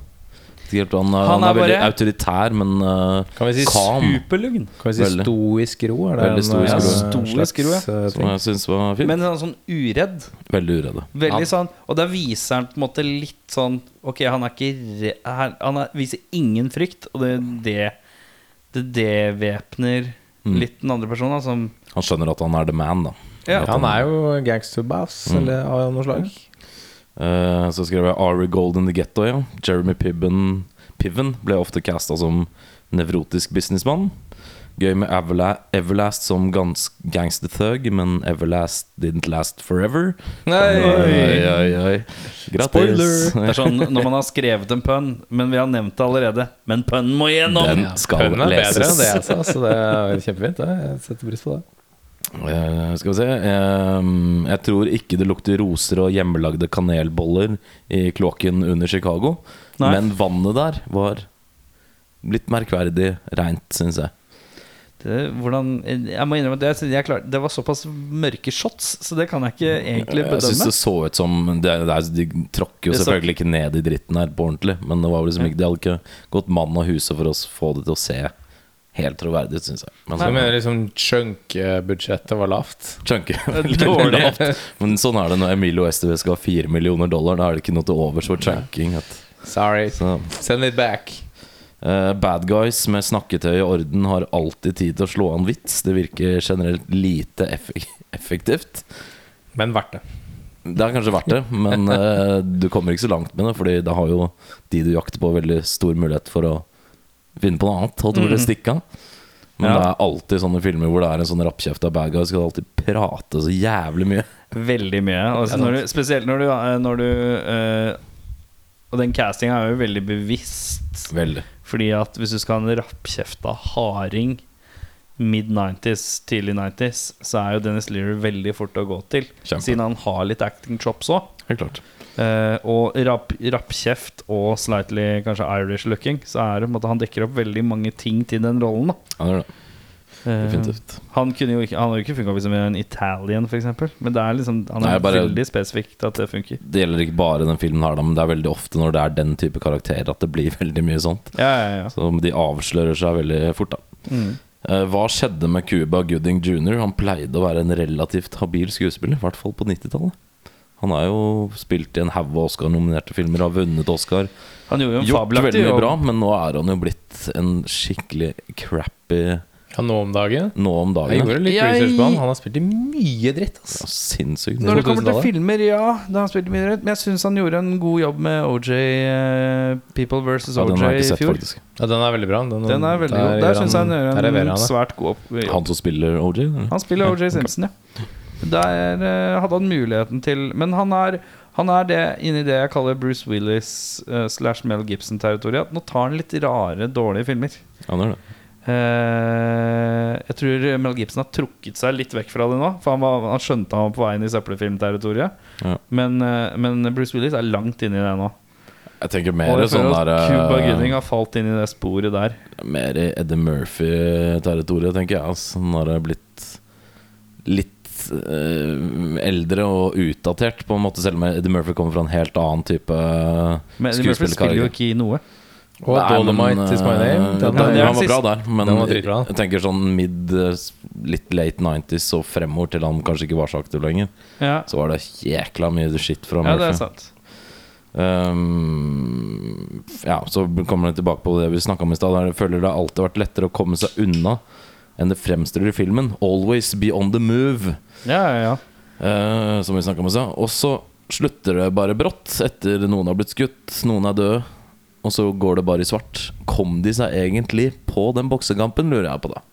S2: Ikke helt, Han, eh,
S3: Han
S2: han er
S3: er
S2: veldig
S3: bare-
S2: autoritær, men eh,
S1: Kan vi si
S2: calm.
S3: Superlugn.
S1: Kan vi si
S2: Veldig.
S1: stoisk ro? Er det
S2: Veldig
S1: en, eh,
S2: stoisk
S3: ro.
S1: slags,
S3: Stoisk ro, ja.
S1: eh,
S2: Som
S1: ting?
S2: jeg syns var fint.
S3: Men sånn, sånn uredd.
S2: Veldig uredde.
S3: Veldig sånn Og da viser han på en måte litt sånn Ok, han er ikke re- Han han er, viser ingen frykt, og det det Det, det væpner
S2: Mm.
S3: litt den andre personen, da, som
S2: Han skjønner at han er the man, da.
S3: Ja.
S2: At
S1: Han er jo gangsterbass,
S2: Mm.
S1: eller av noe slag.
S2: Eh, Så skrev jeg Ari Gold in the Ghetto, ja. Jeremy Piven, Piven ble ofte casta som nevrotisk businessmann. Gøy med Avla Everlast som gans gangster thug, men Everlast didn't last forever. Oi, oi, oi. Grattis.
S3: Det er sånn når man har skrevet en pønn, men vi har nevnt det allerede. Men pønnen må igjennom!
S2: Den skal
S1: Pønnen er
S2: leses.
S1: bedre enn det jeg sa, så det er kjempefint. det. Jeg setter pris på det.
S2: Eh, skal vi se Ehm, Jeg tror ikke det lukter roser og hjemmelagde kanelboller i kloakken under Chicago.
S3: Nei.
S2: Men vannet der var litt merkverdig reint, syns jeg.
S3: Det, hvordan, jeg må innrømme at jeg, jeg klar, det var såpass mørke shots, så det kan jeg ikke egentlig
S2: Jeg syns
S3: bedømme.
S2: det så ut som det, det er, De tråkker jo
S3: Det så-
S2: selvfølgelig ikke ned i dritten her på ordentlig, men det var vel liksom ikke De hadde ikke gått mann av huse for å s- få det til å se helt troverdig ut, syns jeg. Men sånn
S1: Så
S2: så-
S1: jeg mener liksom chunk-budsjettet var lavt.
S2: Chunky.
S3: Dårlig.
S2: Lavt. Men sånn er det når Emilio Estevez skal ha fire millioner dollar. Da er det ikke noe til overs for chunking. At,
S1: Sorry.
S2: så.
S1: Send it back.
S2: Eh, bad guys med snakketøy i orden har alltid tid til å slå an vits. Det virker generelt lite effek effektivt.
S1: Men verdt det.
S2: Det er kanskje verdt det, men eh, du kommer ikke så langt med det, Fordi da har jo de du jakter på, veldig stor mulighet for å finne på noe annet. Holdt jeg på å si, stikke av. Men
S3: Ja.
S2: det er alltid sånne filmer hvor det er en sånn rappkjefta bad guy som skal alltid prate så jævlig mye.
S3: Veldig mye. Altså, når du, spesielt når du, eh, når du eh, Og den castinga er jo veldig bevisst.
S2: Veldig.
S3: Fordi at hvis du skal ha en rappkjefta harding mid-90s, tidlig 90s, så er jo Dennis Leary veldig fort å gå til.
S2: Kjempe.
S3: Siden han har litt acting chops òg.
S2: Helt klart.
S3: Eh, og rapp- rappkjeft og slightly kanskje Irish looking, så er det på en måte han dekker opp veldig mange ting til den rollen. Da.
S2: Ja, det er det.
S3: Eh,
S2: Definitivt.
S3: han kunne jo ikke Han har jo ikke funka som en Italian, f.eks. Men det er liksom, han
S2: Nei,
S3: er
S2: bare-
S3: veldig spesifikt at det funker.
S2: Det gjelder ikke bare den filmen her, da, men det er veldig ofte når det er den type karakterer at det blir veldig mye sånt.
S3: Ja, ja, ja.
S2: Så de avslører seg veldig fort, da.
S3: Mm.
S2: Eh, Hva skjedde med Cuba Gooding jr.? Han pleide å være en relativt habil skuespiller, i hvert fall på 90-tallet. Han har jo spilt i en haug av Oscar-nominerte filmer, har vunnet Oscar.
S3: Han gjorde jo en
S2: Gjort
S3: fabelaktig
S2: veldig mye
S3: jobb.
S2: bra, men nå er han jo blitt en skikkelig crappy
S1: Ja, nå om dagen.
S2: nå om
S1: Jeg
S2: dagen.
S1: gjorde litt
S3: Jeg-
S1: research på han. Han har spilt i mye dritt,
S2: Ja,
S1: altså.
S2: sinnssykt.
S3: Når det kommer til
S1: 2000-tallet.
S3: filmer, ja. Da har han spilt mye rødt. Men jeg syns han gjorde en god jobb med OJ eh, People versus
S2: Ja, den har jeg
S3: OJ i
S2: ikke sett,
S3: fjor.
S2: faktisk.
S1: Ja, den er veldig bra.
S3: Den er veldig god. Der syns jeg han gjør
S1: der leverer
S3: en
S1: han, da.
S3: svært god opp- jobb.
S2: Han som spiller OJ? eller?
S3: Han spiller OJ Simpson, ja. Der eh, hadde han muligheten til Men han er, han er det inni det jeg kaller Bruce Willis eh, slash Mel Gibson-territoriet. Nå tar han litt rare, dårlige filmer.
S2: Ja, det er det.
S3: Eh, jeg tror Mel Gibson har trukket seg litt vekk fra det nå. For han, var, han skjønte han var på vei inn i søppelfilmterritoriet.
S2: Ja.
S3: Men, eh, men Bruce Willis er langt inni det nå.
S2: Jeg tenker
S3: Og
S2: mer
S3: jeg
S2: sånn
S3: føler at
S2: der eh,
S3: Cuba Gooding har falt inn i det sporet der.
S2: Mer i Eddie Murphy-territoriet, tenker jeg. Altså. Når det er blitt litt eh, eldre og utdatert, på en måte. Selv om Eddie Murphy kommer fra en helt annen type eh,
S3: Men Eddie Murphy spiller jo
S2: skuespillerkarriere.
S3: ikke i noe.
S1: Og
S2: Nei, men,
S1: Dolomite is my name.
S2: eh,
S1: Den
S2: den,
S1: er-
S3: ja,
S2: han var bra der, men
S1: Den var dritbra.
S2: jeg tenker sånn mid, eh, litt late 90s og fremover til han kanskje ikke var så aktiv lenger,
S3: Ja,
S2: så var det jækla mye shit fra
S3: ja det
S2: Murphy.
S3: er sant.
S2: Ehm, ja, så kommer det tilbake på det vi snakka om i stad. der Jeg føler det har alltid vært lettere å komme seg unna enn det fremstår i filmen. 'Always be on the move',
S3: Ja, ja, ja.
S2: eh, som vi snakka om i stad. Og så slutter det bare brått, etter noen har blitt skutt, noen er døde, og så går det bare i svart. Kom de seg egentlig på den boksekampen, lurer jeg på da.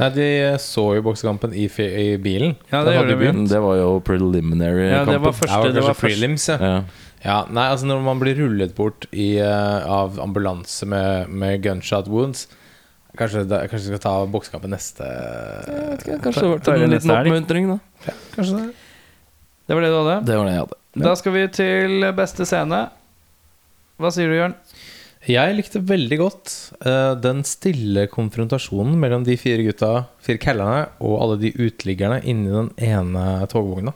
S1: Nei, de så jo boksekampen i, fi- i bilen.
S3: Ja,
S1: Den hadde
S3: det gjorde
S1: jo
S3: vi.
S1: begynt.
S2: Det var jo preliminary
S3: ja det
S2: kampen.
S3: var
S1: Ja,
S3: første,
S1: det
S3: det
S1: var
S3: var
S1: kanskje
S3: første.
S1: prelims, ja.
S2: Ja.
S1: ja. Nei, altså når man blir rullet bort i, eh, av ambulanse med, med gunshot wounds Kanskje, da, kanskje vi skal ta boksekampen neste
S2: Kanskje det
S3: tar
S2: var
S3: vi
S2: en
S3: neste
S2: liten
S3: helg?
S2: oppmuntring, da.
S1: Kanskje det.
S3: Det var det du hadde?
S2: Det var det jeg hadde.
S3: Da skal vi til beste scene. Hva sier du, Jørn?
S1: Jeg likte veldig godt eh, den stille konfrontasjonen mellom de fire gutta, fire kallerne, og alle de uteliggerne inni den ene togvogna.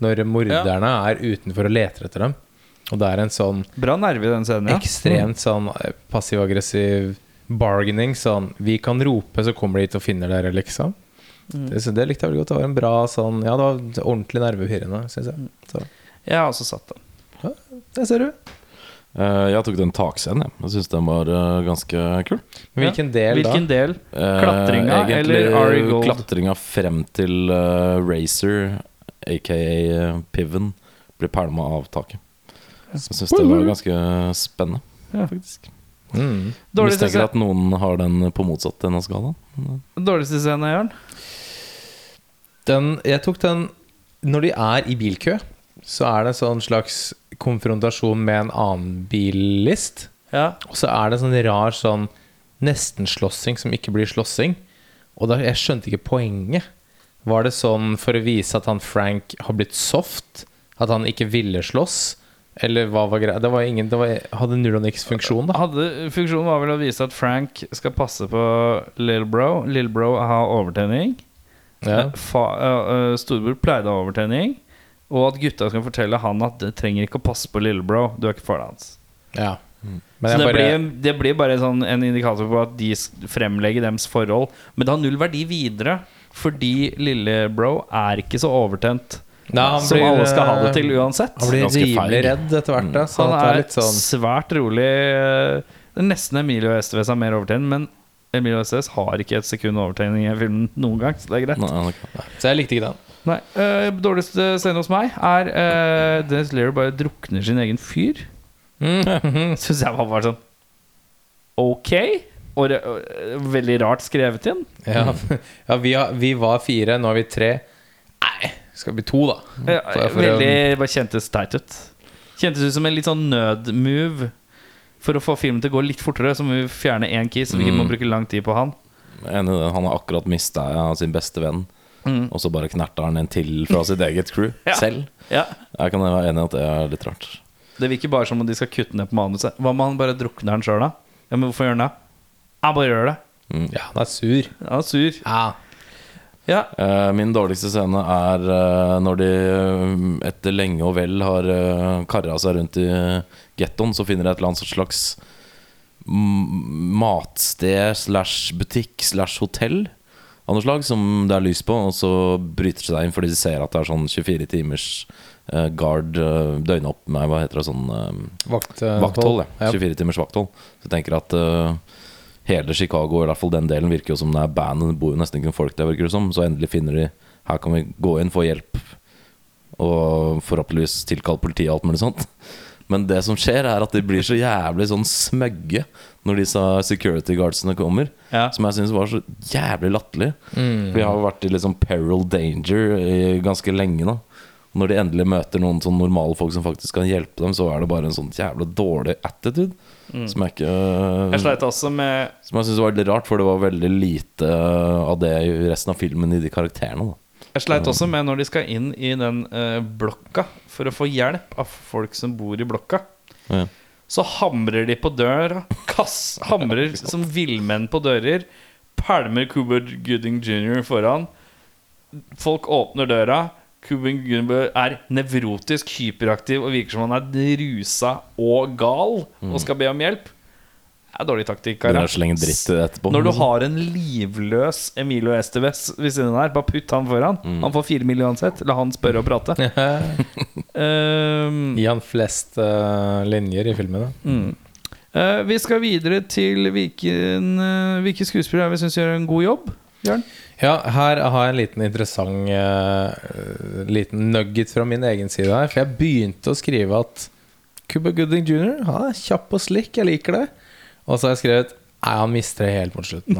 S1: Når morderne er utenfor og leter etter dem. Og det er en sånn
S3: Bra nerve i den scenen, ja.
S1: ekstremt sånn eh, passiv-aggressiv bargaining. Sånn 'Vi kan rope, så kommer de hit og finner dere', liksom. Det, så det likte jeg veldig godt. Det var en bra sånn Ja, det var ordentlig nervepirrende, syns jeg. Så,
S3: Mm. Jeg har også satt den.
S1: der ser du.
S2: Eh, jeg tok den takscenen. Jeg, jeg syns den var eh, ganske kul.
S1: Men hvilken del da?
S3: Hvilken del?
S2: Eh,
S3: Klatringa
S2: egentlig,
S3: eller Ari Gold?
S2: Klatringa frem til eh, Racer, aka eh, Piven, blir pælma av taket. Så jeg syns det var ganske spennende,
S3: Ja.
S2: faktisk.
S1: Mm.
S3: Dårligste,
S2: Mistenker
S3: scene-
S2: at noen har den på motsatt ende av skalaen.
S3: dårligste scene, Jørn?
S1: Den, jeg tok den Når de er i bilkø, så er det en sånn slags konfrontasjon med en annen billist.
S3: Ja.
S1: Og så er det sånn rar sånn nesten-slåssing som ikke blir slåssing. Og da, jeg skjønte ikke poenget. Var det sånn for å vise at han Frank har blitt soft? At han ikke ville slåss? Eller hva var greia? Det var ingen, det var, hadde null og niks funksjon, da.
S3: Hadde, funksjonen var vel å vise at Frank skal passe på Lil Bro. Lil Bro har overtenning.
S1: Ja.
S3: Eh, Fa, eh, eh, Storebror pleide å ha overtenning. Og at gutta skal fortelle han at det trenger ikke å passe på lillebro. Du er ikke faren hans.
S1: ja. Mm. Men
S3: Så
S1: jeg
S3: det,
S1: bare
S3: blir, det blir bare sånn en indikator på at de s- fremlegger deres forhold. Men det har null verdi videre, fordi lillebro er ikke så overtent
S1: Nei, han
S3: som
S1: blir,
S3: alle skal ha det til
S1: eh,
S3: uansett.
S1: Han blir
S2: Ganske
S1: rimelig
S2: feig.
S1: redd etter hvert, da. Så
S3: Mm. Han
S1: at det
S3: er
S1: er litt sånn
S3: svært rolig. eh, Det er nesten Emilio Estevez har mer overtenning, men Emilio Estevez har ikke et sekund overtenning i filmen noen gang, så det er greit.
S2: Nei, han er ikke-
S1: Så jeg likte ikke den.
S3: Nei, eh, Dårligste scene hos meg er uh, Dennis Lear bare drukner sin egen fyr.
S1: Mm.
S3: Syns jeg var bare sånn Ok? Og det- og, eh, veldig rart skrevet inn.
S1: Ja, ja vi, har, vi var fire, nå er vi tre. Nei, skal bli to, da.
S3: Ja,
S1: Så jeg får-
S3: Eh, veldig bare kjentes teit ut. Kjentes ut som en litt sånn nødmove for å få filmen til å gå litt fortere. Så må vi fjerne én key, så vi ikke må bruke lang tid på han.
S2: Jeg er Enig i det. Han har akkurat mista sin beste venn, og så bare knerter han en til fra sitt eget crew
S3: Mm. Ja.
S2: selv.
S3: Ja,
S2: Jeg kan være enig i at det er litt rart.
S3: Det virker bare som om de skal kutte ned på manuset. Hva om han bare drukner han sjøl, da? Ja, men hvorfor gjør han det? Jeg bare gjør det.
S1: Ja, han er sur.
S3: Han er sur.
S1: Ja.
S3: Ja,
S2: Eh, Min dårligste scene er eh, når de eh, etter lenge og vel har eh, karra seg rundt i gettoen, så finner de et eller annet slags m- matsted slash butikk slash hotell av noe slag som det er lys på, og så bryter de seg inn fordi de ser at det er sånn 24 timers eh, guard eh, døgnopp med Hva heter det sånn eh,
S1: Vakt, eh,
S2: Vakthold, ja.
S1: ja.
S2: 24 timers vakthold. Så jeg tenker at eh, hele Chicago, i hvert fall den delen, virker jo som det er band. Det bor jo nesten ikke noen folk der, virker det som. Så endelig finner de Her kan vi gå inn, få hjelp, og forhåpentligvis tilkalle politiet og alt mulig sånt. Men det som skjer, er at de blir så jævlig sånn smøgge når disse security guardsene kommer.
S3: Ja. Mm.
S2: Som jeg syns var så jævlig latterlig. For jeg har jo vært i liksom peril danger i ganske lenge nå. Og Når de endelig møter noen sånn normale folk som faktisk kan hjelpe dem, så er det bare en sånn jævla dårlig attitude. Som jeg ikke
S3: Mm. jeg sleit også med
S2: Som jeg syns var litt rart, for det var veldig lite av det i resten av filmen i de karakterene. da
S3: Jeg sleit også med når de skal inn i den eh, blokka for å få hjelp av folk som bor i blokka.
S2: Ja.
S3: Så hamrer de på døra. Kass, hamrer som villmenn på dører. Pælmer Cooper Gooding jr. foran. Folk åpner døra. Cooper Gooding er nevrotisk hyperaktiv og virker som han er rusa og gal
S2: Mm.
S3: og skal be om hjelp. Det er dårlig taktikk.
S2: Det
S3: Kara.
S2: er så lenge dritt etterpå.
S3: Når du har en livløs Emilio Estevez ved siden av her, bare putt han foran. Han får fire mill. uansett. La han spørre og prate. Ehm,
S1: Gi han flest eh, linjer i filmen, da.
S3: eh, vi skal videre til hvilken, eh, hvilke skuespillere er vi syns gjør en god jobb. Jørn?
S1: Ja, her har jeg en liten interessant eh, liten nugget fra min egen side her. For jeg begynte å skrive at Cuba Gooding jr. Han er kjapp og slick, jeg liker det. Og så har jeg skrevet Nei, han mister det helt mot slutten.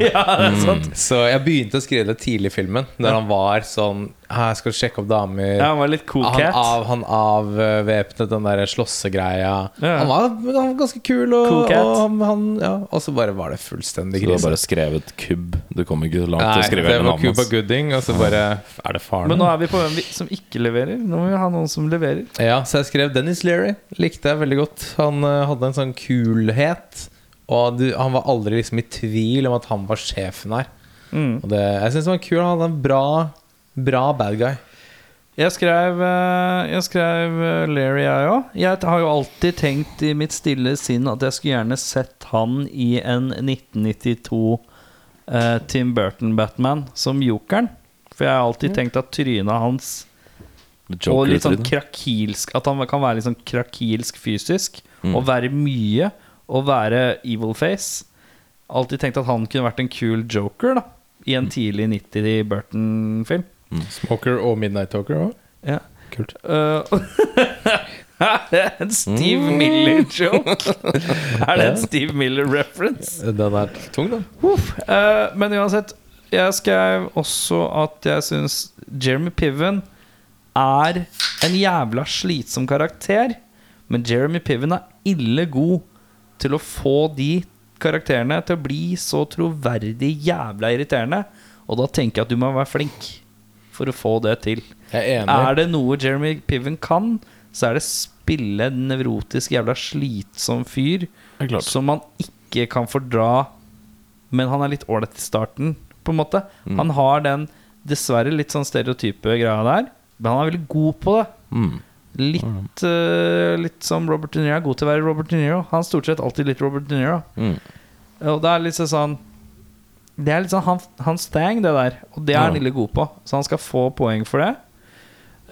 S1: da." Så jeg begynte å skrive det tidlig i filmen, der han var sånn Her skal du sjekke opp damer.
S3: Ja, han var litt cool
S1: han,
S3: cat.
S1: av, han avvæpnet den der slåssegreia.
S3: Ja.
S1: Han, var- han var ganske kul, og,
S3: Cool cat.
S1: og han, han, ja. og så bare var det fullstendig
S2: Så du har
S1: grise.
S2: bare skrevet kubb. Du kommer ikke langt til å
S1: Nei,
S2: skrive
S1: det
S2: hele
S1: var
S2: navnet
S1: Cuba
S2: hans.
S1: Gooding, og så bare Er det faren?
S3: Men nå er vi på hvem vi- som ikke leverer. Nå må vi ha noen som leverer.
S1: Ja, så jeg skrev Dennis Leary. Likte jeg veldig godt. Han eh, hadde en sånn kulhet. Og du, han var aldri liksom i tvil om at han var sjefen her.
S3: Mm.
S1: Og det, jeg syns han var kul. Han hadde en bra, bra bad guy.
S3: Jeg skrev, eh, jeg skrev eh, Larry, jeg òg. Jeg har jo alltid tenkt i mitt stille sinn at jeg skulle gjerne sett han i en 1992 eh, Tim Burton-Batman som jokeren. For jeg har alltid tenkt at trynet hans Og litt sånn
S2: Joker-utrynet.
S3: krakilsk At han kan være litt sånn krakilsk fysisk. Og være mye. Og være evil face. Alltid tenkt at han kunne vært en kul joker da i en tidlig 90 Burton-film.
S1: Smoker og Midnight Talker òg.
S3: Ja.
S1: kult.
S3: Eh, en Steve Miller-joke! Er det en Steve Miller-reference?
S1: Eh, Den er tung, da.
S3: Eh, men uansett, jeg skrev også at jeg syns Jeremy Piven er en jævla slitsom karakter. Men Jeremy Piven er ille god til å få de karakterene til å bli så troverdig jævla irriterende. Og da tenker jeg at du må være flink for å få det til.
S1: Jeg er enig.
S3: Er det noe Jeremy Piven kan, så er det spille en nevrotisk jævla slitsom fyr
S2: Det er klart.
S3: som man ikke kan fordra, men han er litt ålreit i starten, på en måte.
S2: Mm.
S3: Han har den dessverre litt sånn stereotype greia der, men han er veldig god på det.
S2: Mm.
S3: Litt, eh, litt som Robert De Niro er god til å være Robert De Niro. Han er stort sett alltid litt Robert De Niro.
S2: Mm.
S3: Og det er litt sånn Det er litt sånn han- hans thing, det der. Og det er han
S2: Ja.
S3: ille god på, så han skal få poeng for det.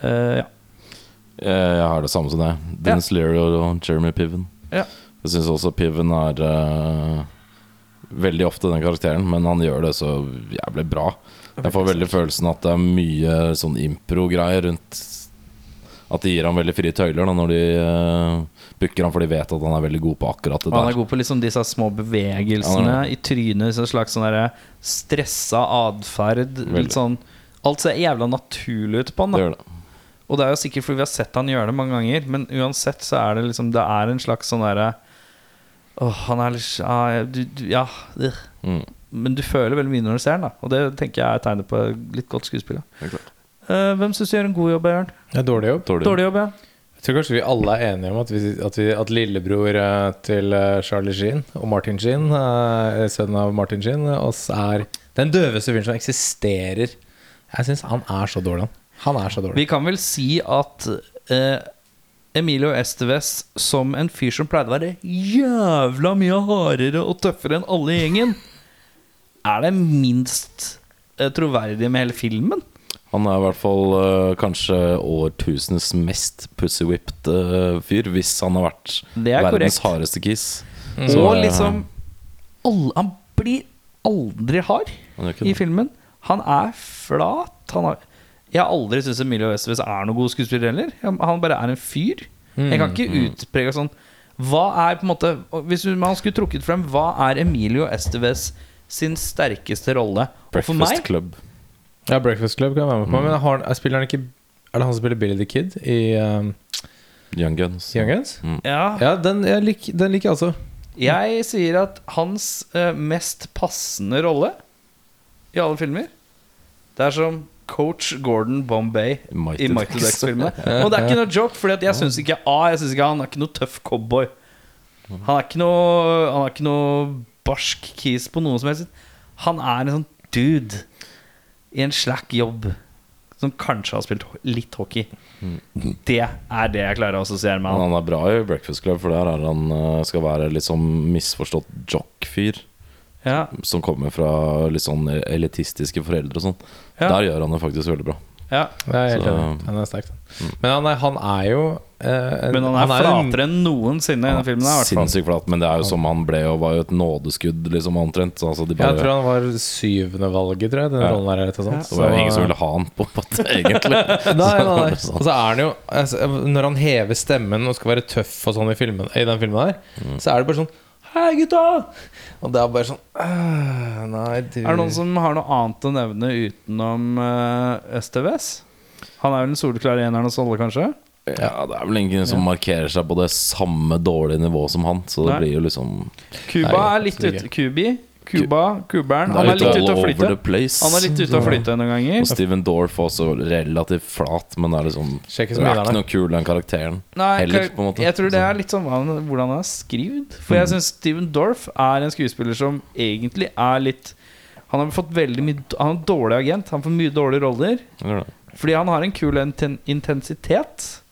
S3: Eh, ja.
S2: Jeg Eh, jeg har det samme som deg. Dennis Leary og Jeremy Piven.
S3: Ja.
S2: Jeg syns også Piven er eh, veldig ofte den karakteren, men han gjør det så jævlig bra. Jeg får veldig følelsen at det er mye sånn impro-greier rundt At de gir ham veldig frie tøyler da, når de uh, booker ham, for de vet at han er veldig god på akkurat det
S3: Og han er
S2: der.
S3: god på liksom disse små bevegelsene
S2: Ja, han
S3: i trynet. Disse slags sånn derre stressa atferd.
S2: Veldig.
S3: Litt sånn Alt ser jævla naturlig ut på han.
S2: Det
S3: Da.
S2: gjør det.
S3: Og det er jo sikkert fordi vi har sett han gjøre det mange ganger, men uansett så er det liksom Det er en slags sånn derre Åh, han er litt ah, du, du, Ja. øh.
S2: Mm.
S3: Men du føler veldig mye når du ser han, da. Og det tenker jeg er tegnet på litt godt skuespill. da.
S2: Det er klart.
S3: Eh, hvem syns du gjør en god jobb, Jørn?
S1: Det er dårlig jobb.
S2: Dårlig.
S3: Dårlig jobb, ja.
S1: Jeg tror kanskje vi alle er enige om at, vi, at, vi, at lillebror eh, til eh, Charlie Sheen og Martin Sheen, eh, sønnen av Martin Sheen, eh, oss er den døveste fyren som eksisterer. Jeg syns han er så dårlig, han. Han er så dårlig.
S3: Vi kan vel si at eh, Emilio Estevez som en fyr som pleide å være jævla mye hardere og tøffere enn alle i gjengen, er det minst eh, troverdige med hele filmen.
S2: Han er i hvert fall eh, kanskje årtusenets mest pussywhipped eh, fyr, hvis han har vært
S3: Det er
S2: verdens
S3: korrekt.
S2: hardeste kiss.
S3: og
S2: eh,
S3: liksom alle, Han blir aldri hard
S2: Han gjør ikke
S3: i
S2: det.
S3: filmen. Han er flat. Han har, jeg har aldri syntes Emilio Estevez er noen god skuespiller heller. Han han bare er en fyr. Jeg kan
S2: Mm,
S3: ikke utprege sånn Hva er på en måte Hvis man skulle trukket frem hva er Emilio Estevez sin sterkeste rolle? Og for
S2: Breakfast
S3: meg
S2: Club.
S1: Ja, Breakfast Club kan jeg være med på, men har, han- spiller han ikke Er det han som spiller Billy the Kid i eh,
S2: Young Guns.
S1: Young Guns?
S2: Mm.
S3: ja,
S1: Ja, den, jeg lik, den liker jeg også.
S3: Jeg sier at hans eh, mest passende rolle i alle filmer Det er som coach Gordon Bombay
S2: Mighty
S3: i Michael
S2: Ducks.
S3: Ducks-filmene. Og det er ikke noe joke, for jeg syns ikke, ah, jeg synes ikke han er ikke noe tøff cowboy. Han er ikke noe, han er ikke noe barsk kis på noe som helst. Han er en sånn dude i en slack jobb som kanskje har spilt ho- litt hockey. Det er det jeg klarer å assosiere med
S2: Men
S3: han.
S2: han er bra i Breakfast Club, for der er han eh, skal være litt sånn misforstått jock-fyr.
S3: Ja.
S2: Som kommer fra litt sånn elitistiske foreldre og sånn.
S3: Ja.
S2: Der gjør han det faktisk veldig bra.
S3: Ja.
S1: Jeg er helt
S2: Så- Mm.
S1: enig. Han er sterk. den. Men han er, han er jo eh, en-
S3: Men han er,
S1: en-
S3: flatere enn noensinne i denne filmen. her, i hvert fall.
S2: Sinnssykt flat, men det er jo som han ble og var jo et nådeskudd, liksom, omtrent. Så, altså, de
S1: Jeg tror
S2: bare,
S1: han var syvende valget, tror jeg. Den
S2: Ja.
S1: rollen der, eller noe sånt.
S2: det var jo
S1: Så-
S2: ingen som ville ha han på, på det, egentlig.
S1: Nei,
S2: Så
S1: nei,
S2: var
S1: nei.
S2: det sånn.
S1: Og så er han jo altså, Når han hever stemmen og skal være tøff og sånn i, filmen, i den filmen der, så er det bare sånn Hei, gutta! Og det er bare sånn «Åh, Nei, du
S3: Er det noen som har noe annet å nevne utenom uh, STVS? Han er vel den soleklare eneren hos alle, kanskje?
S2: Ja, det er vel ingen som markerer seg på det samme dårlige nivået som han, så det
S3: Nei.
S2: blir jo liksom
S3: Cuba
S1: Nei,
S3: er litt
S1: absolutt
S3: ute Kubi. Cuba, kuberen.
S2: Det
S3: Han er
S2: litt
S3: litt
S2: all
S3: ute å
S2: over
S3: flyte.
S2: the place.
S3: Han er litt ute å flyte noen
S2: Og
S3: ganger.
S2: Steven Dorff også relativt flat, men det er liksom
S1: Sjekk
S2: Det
S1: ut som
S2: er ikke
S1: midlerne.
S2: noe kul, den karakteren.
S3: Nei,
S2: heller,
S3: kar-
S2: på en måte. Mm.
S3: jeg tror det er litt sånn hva han- hvordan han er skrevet. For jeg syns Steven Dorff er en skuespiller som egentlig er litt Han har fått veldig mye Han er en dårlig agent. Han får mye dårlige roller.
S2: Eller det.
S3: Fordi han har en kul inten- intensitet.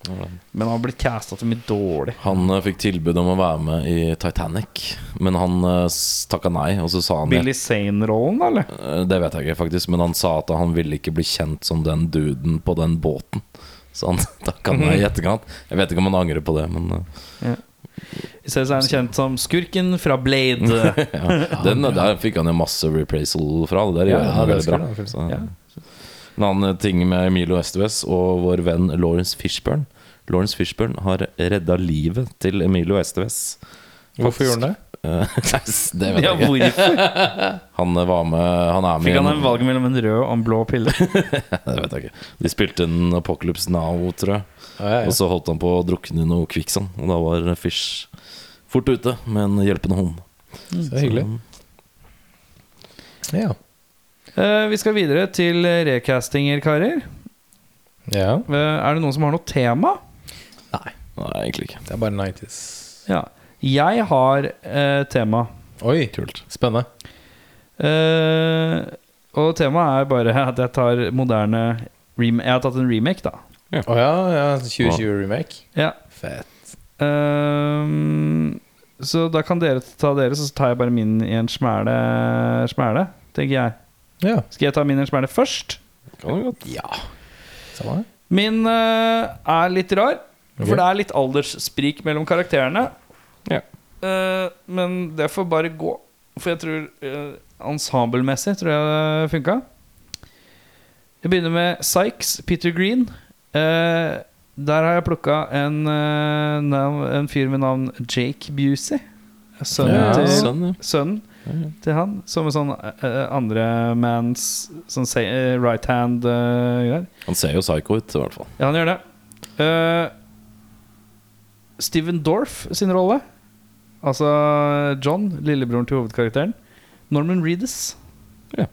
S3: Men han har blitt casta til mye dårlig.
S2: Han eh, fikk tilbud om å være med i Titanic, men han eh, s- takka nei. Og så sa han
S3: Billy Zane-rollen, da, eller?
S2: Eh, Det vet jeg ikke, faktisk, men han sa at han ville ikke bli kjent som den duden på den båten. Så han takka nei
S3: Mhm.
S2: i etterkant. Jeg vet ikke om han angrer på det, men eh,
S3: I stedet så er han kjent som skurken fra Blade.
S2: ja. den, der fikk han jo masse repraisal fra. Det der
S1: Ja,
S2: gjør han jo
S1: det
S2: veldig
S1: skulle
S2: bra.
S1: han,
S2: Så,
S3: ja.
S2: En annen eh, ting med Emilio Estevez og vår venn Lawrence Fishburne. Lawrence Fishburne har redda livet til Emilio Estevez.
S1: Hvorfor gjorde han det?
S2: Eh, nei, s- det vet
S3: Ja,
S2: jeg ikke.
S3: hvorfor?
S2: Han eh, var med Han er med
S3: Fikk
S2: i
S3: han
S2: en-
S3: en valg mellom en rød og en blå pille?
S2: Nei, Det vet jeg ikke. De spilte en Apocalypse Now, tror jeg.
S1: Ja, ja, ja.
S2: Og så holdt han på å drukne i noe kvikksand, og da var Fish fort ute med en hjelpende hånd.
S1: Så hyggelig. Ja.
S3: Eh, vi skal videre til recastinger, karer.
S1: ja.
S3: Eh, er det noen som har noe tema?
S1: Nei,
S2: Nei, egentlig ikke.
S1: det er bare 90s.
S3: Ja. Jeg har eh, tema.
S1: Oi, spennende.
S3: Eh, og temaet er bare at jeg tar moderne rem Jeg har tatt en remake, da.
S1: Å ja, ja. 2020-remake.
S3: Ja.
S1: Fett.
S3: Ehm, så da kan dere ta deres, og så tar jeg bare min i en smæle, smæle tenker jeg.
S1: Ja.
S3: Skal jeg ta min i en smæle først?
S2: Kan det godt.
S1: ja. Samme det.
S3: Min eh, er litt rar,
S1: Ok.
S3: for det er litt alderssprik mellom karakterene.
S2: Ja.
S3: Eh, men det får bare gå, for jeg tror eh, ensemblemessig tror jeg det funka. Jeg begynner med Sykes, Peter Green. Eh, der har jeg plukka en, eh, nav- en fyr med navn Jake Busey. Sønnen,
S1: Ja,
S3: til,
S2: Sønn, ja.
S3: sønnen til han. Som en sånn eh, andre manns sånn se- eh, right hand-greier.
S2: Han ser jo psycho ut, i hvert fall.
S3: Ja, han gjør det. Eh, Steven Dorff sin rolle, altså John, lillebroren til hovedkarakteren, Norman Reedus.
S2: Ja.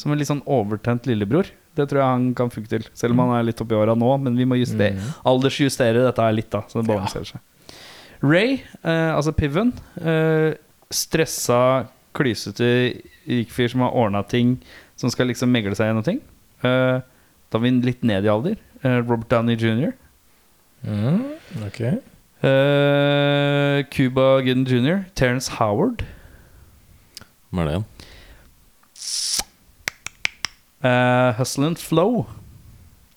S3: Som en litt sånn overtent lillebror. Det tror jeg han kan funke til. Selv om han er litt oppi åra nå, men vi må justere, aldersjustere dette her litt, da. Så det balanserer seg. Ray, eh, altså Piven, eh, stressa, klysete rik fyr som har ordna ting, som skal liksom megle seg gjennom ting. Eh, da er vi litt ned i alder. Eh, Robert Downey jr.
S1: Mm, ok.
S3: Eh, Cuba Gooden jr. Terence Howard.
S2: Hvem er det igjen?
S3: Eh, Hustle and Flow.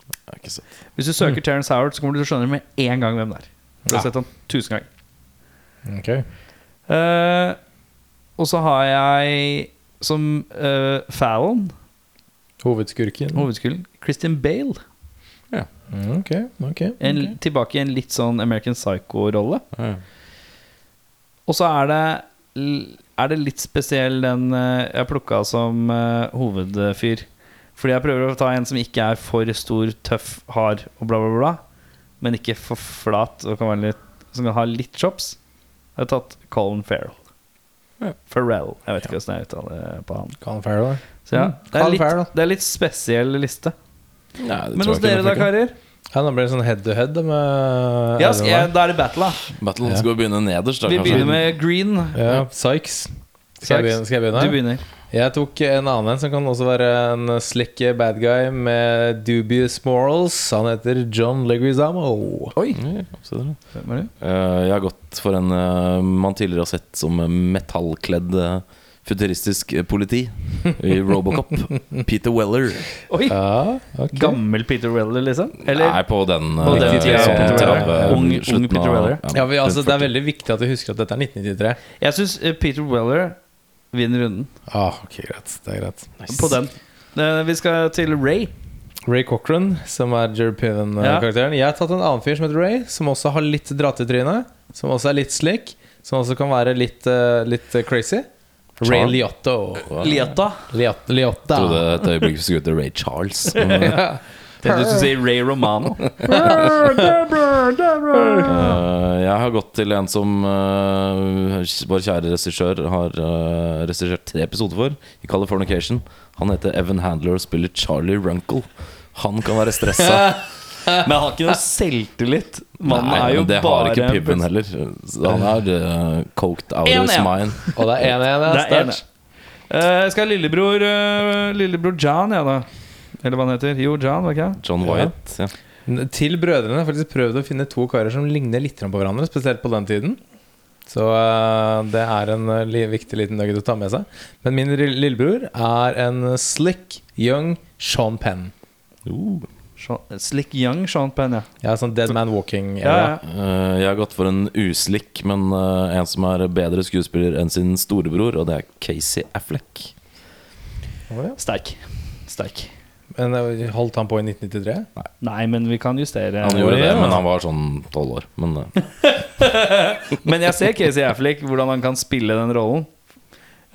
S2: Jeg har ikke sett.
S3: Hvis du søker Terence Howard, så kommer du til å skjønne med en gang hvem det er. Du
S1: Mm.
S3: har
S1: Ja.
S3: sett han tusen ganger.
S1: Ok.
S3: Eh, og så har jeg som eh, Fallon,
S1: Hovedskurken.
S3: hovedskulden, Christian Bale.
S1: Mm, ok, ok.
S3: En, Tilbake i en litt sånn American Psycho-rolle.
S2: Ja, ja.
S3: Og så er det Er det litt spesiell den eh, jeg plukka som eh, hovedfyr. Fordi jeg prøver å ta en som ikke er for stor, tøff, hard og bla, bla, bla. Men ikke for flat og kan være litt, som kan ha litt chops. Jeg har tatt Colin Farrell.
S2: Ja.
S3: Farrell. Jeg vet ikke hvordan jeg uttaler eh, på han.
S1: Colin Farrell.
S3: Så ja,
S1: Mm,
S3: det, er
S1: Colin Farrell.
S3: litt, det er litt spesiell liste.
S2: Nei, det
S3: Men
S2: tror
S3: hos
S2: jeg
S3: dere
S2: ikke
S3: da,
S2: det funker.
S3: karer?
S1: Ja, nå ble det sånn head to head med
S3: Ja, skal
S1: Adam
S3: jeg- da er det battle, da.
S2: Battlen
S1: Ja.
S2: skal begynne nederst, da,
S3: Vi
S2: kanskje.
S3: begynner med green.
S1: her. Ja, Sykes. Skal jeg
S3: Sykes.
S1: begynne? Skal jeg begynne?
S3: Du begynner.
S1: Jeg tok en annen en som kan også være en slick bad guy med dubious morals. Han heter John Leguizamo.
S3: Oi!
S2: Ja, ja, se der, ja.
S3: Hvem er du?
S2: Eh, jeg har gått for en eh, man tidligere har sett som eh, metallkledd eh, futuristisk eh, politi i Robocop. Peter Weller.
S3: Oi!
S1: Ja, ok.
S3: Gammel Peter Weller, liksom? Eller
S2: Nei, på den,
S3: På den
S2: eh,
S3: tida,
S2: sånn
S1: Peter Weller.
S2: 30,
S3: Ung- ung
S2: slutten
S3: Peter
S2: av-
S3: Weller.
S1: Ja, men, altså, det er
S2: 40.
S1: veldig viktig at du husker at dette er 1993.
S3: Jeg syns Peter Weller vinner runden
S1: Ah, ok, greit. Det er greit.
S3: på den. Eh, Vi skal til Ray.
S1: Ray Cochran, som er Jerry Piven-karakteren. Jeg har tatt en annen fyr som heter Ray, som også har litt dratt i trynet. Som også er litt slick. Som også kan være litt, eh, litt eh, crazy. Ray
S2: Charm.
S1: Liotto.
S3: Lieta.
S1: Liot- Liotta.
S2: Jeg trodde et øyeblikk vi skulle ut til Ray Charles. Men, eh,
S3: Det du skulle si Ray Romano.
S2: Eh, jeg har gått til en som eh, vår kjære regissør har eh, regissert tre episoder for, i Californication. Han heter Evan Handler og spiller Charlie Runkle. Han kan være stressa.
S3: Men han har ikke noe selvtillit. Mannen
S2: Nei,
S3: er jo
S2: men det har
S3: bare
S2: ikke Piven heller. Så han er eh, coked out of his
S3: En, ja.
S2: mind.
S1: Og det er 1-1.
S3: Det
S1: ja,
S3: er ene.
S1: sterkt.
S3: Eh, Jeg skal ha lillebror eh, Lillebror John, ja da. Eller hva han heter. Jo, John, var ikke jeg?
S2: John Wyatt. Ja.
S1: Til brødrene har jeg faktisk prøvd å finne to karer som ligner litt på hverandre, spesielt på den tiden. Så eh, det er en eh, li viktig liten nugget å ta med seg. Men min ri- lillebror er en slick, young Sean Penn.
S2: Uh.
S3: Sean- eh, Slick Young Sean Penn, ja.
S1: Ja, sånn Dead Man Walking.
S3: ja, ja.
S2: Eh, jeg har gått for en uslikk, men eh, en som er bedre skuespiller enn sin storebror, og det er Casey Affleck.
S1: Å, ja.
S3: Sterk. Sterk.
S1: Eh, Men eh, holdt han på i 1993?
S3: Nei, men vi kan justere.
S2: Han gjorde
S1: ja.
S2: det, men han var sånn tolv år. Men eh,
S3: Men jeg ser Casey Affleck, hvordan han kan spille den rollen.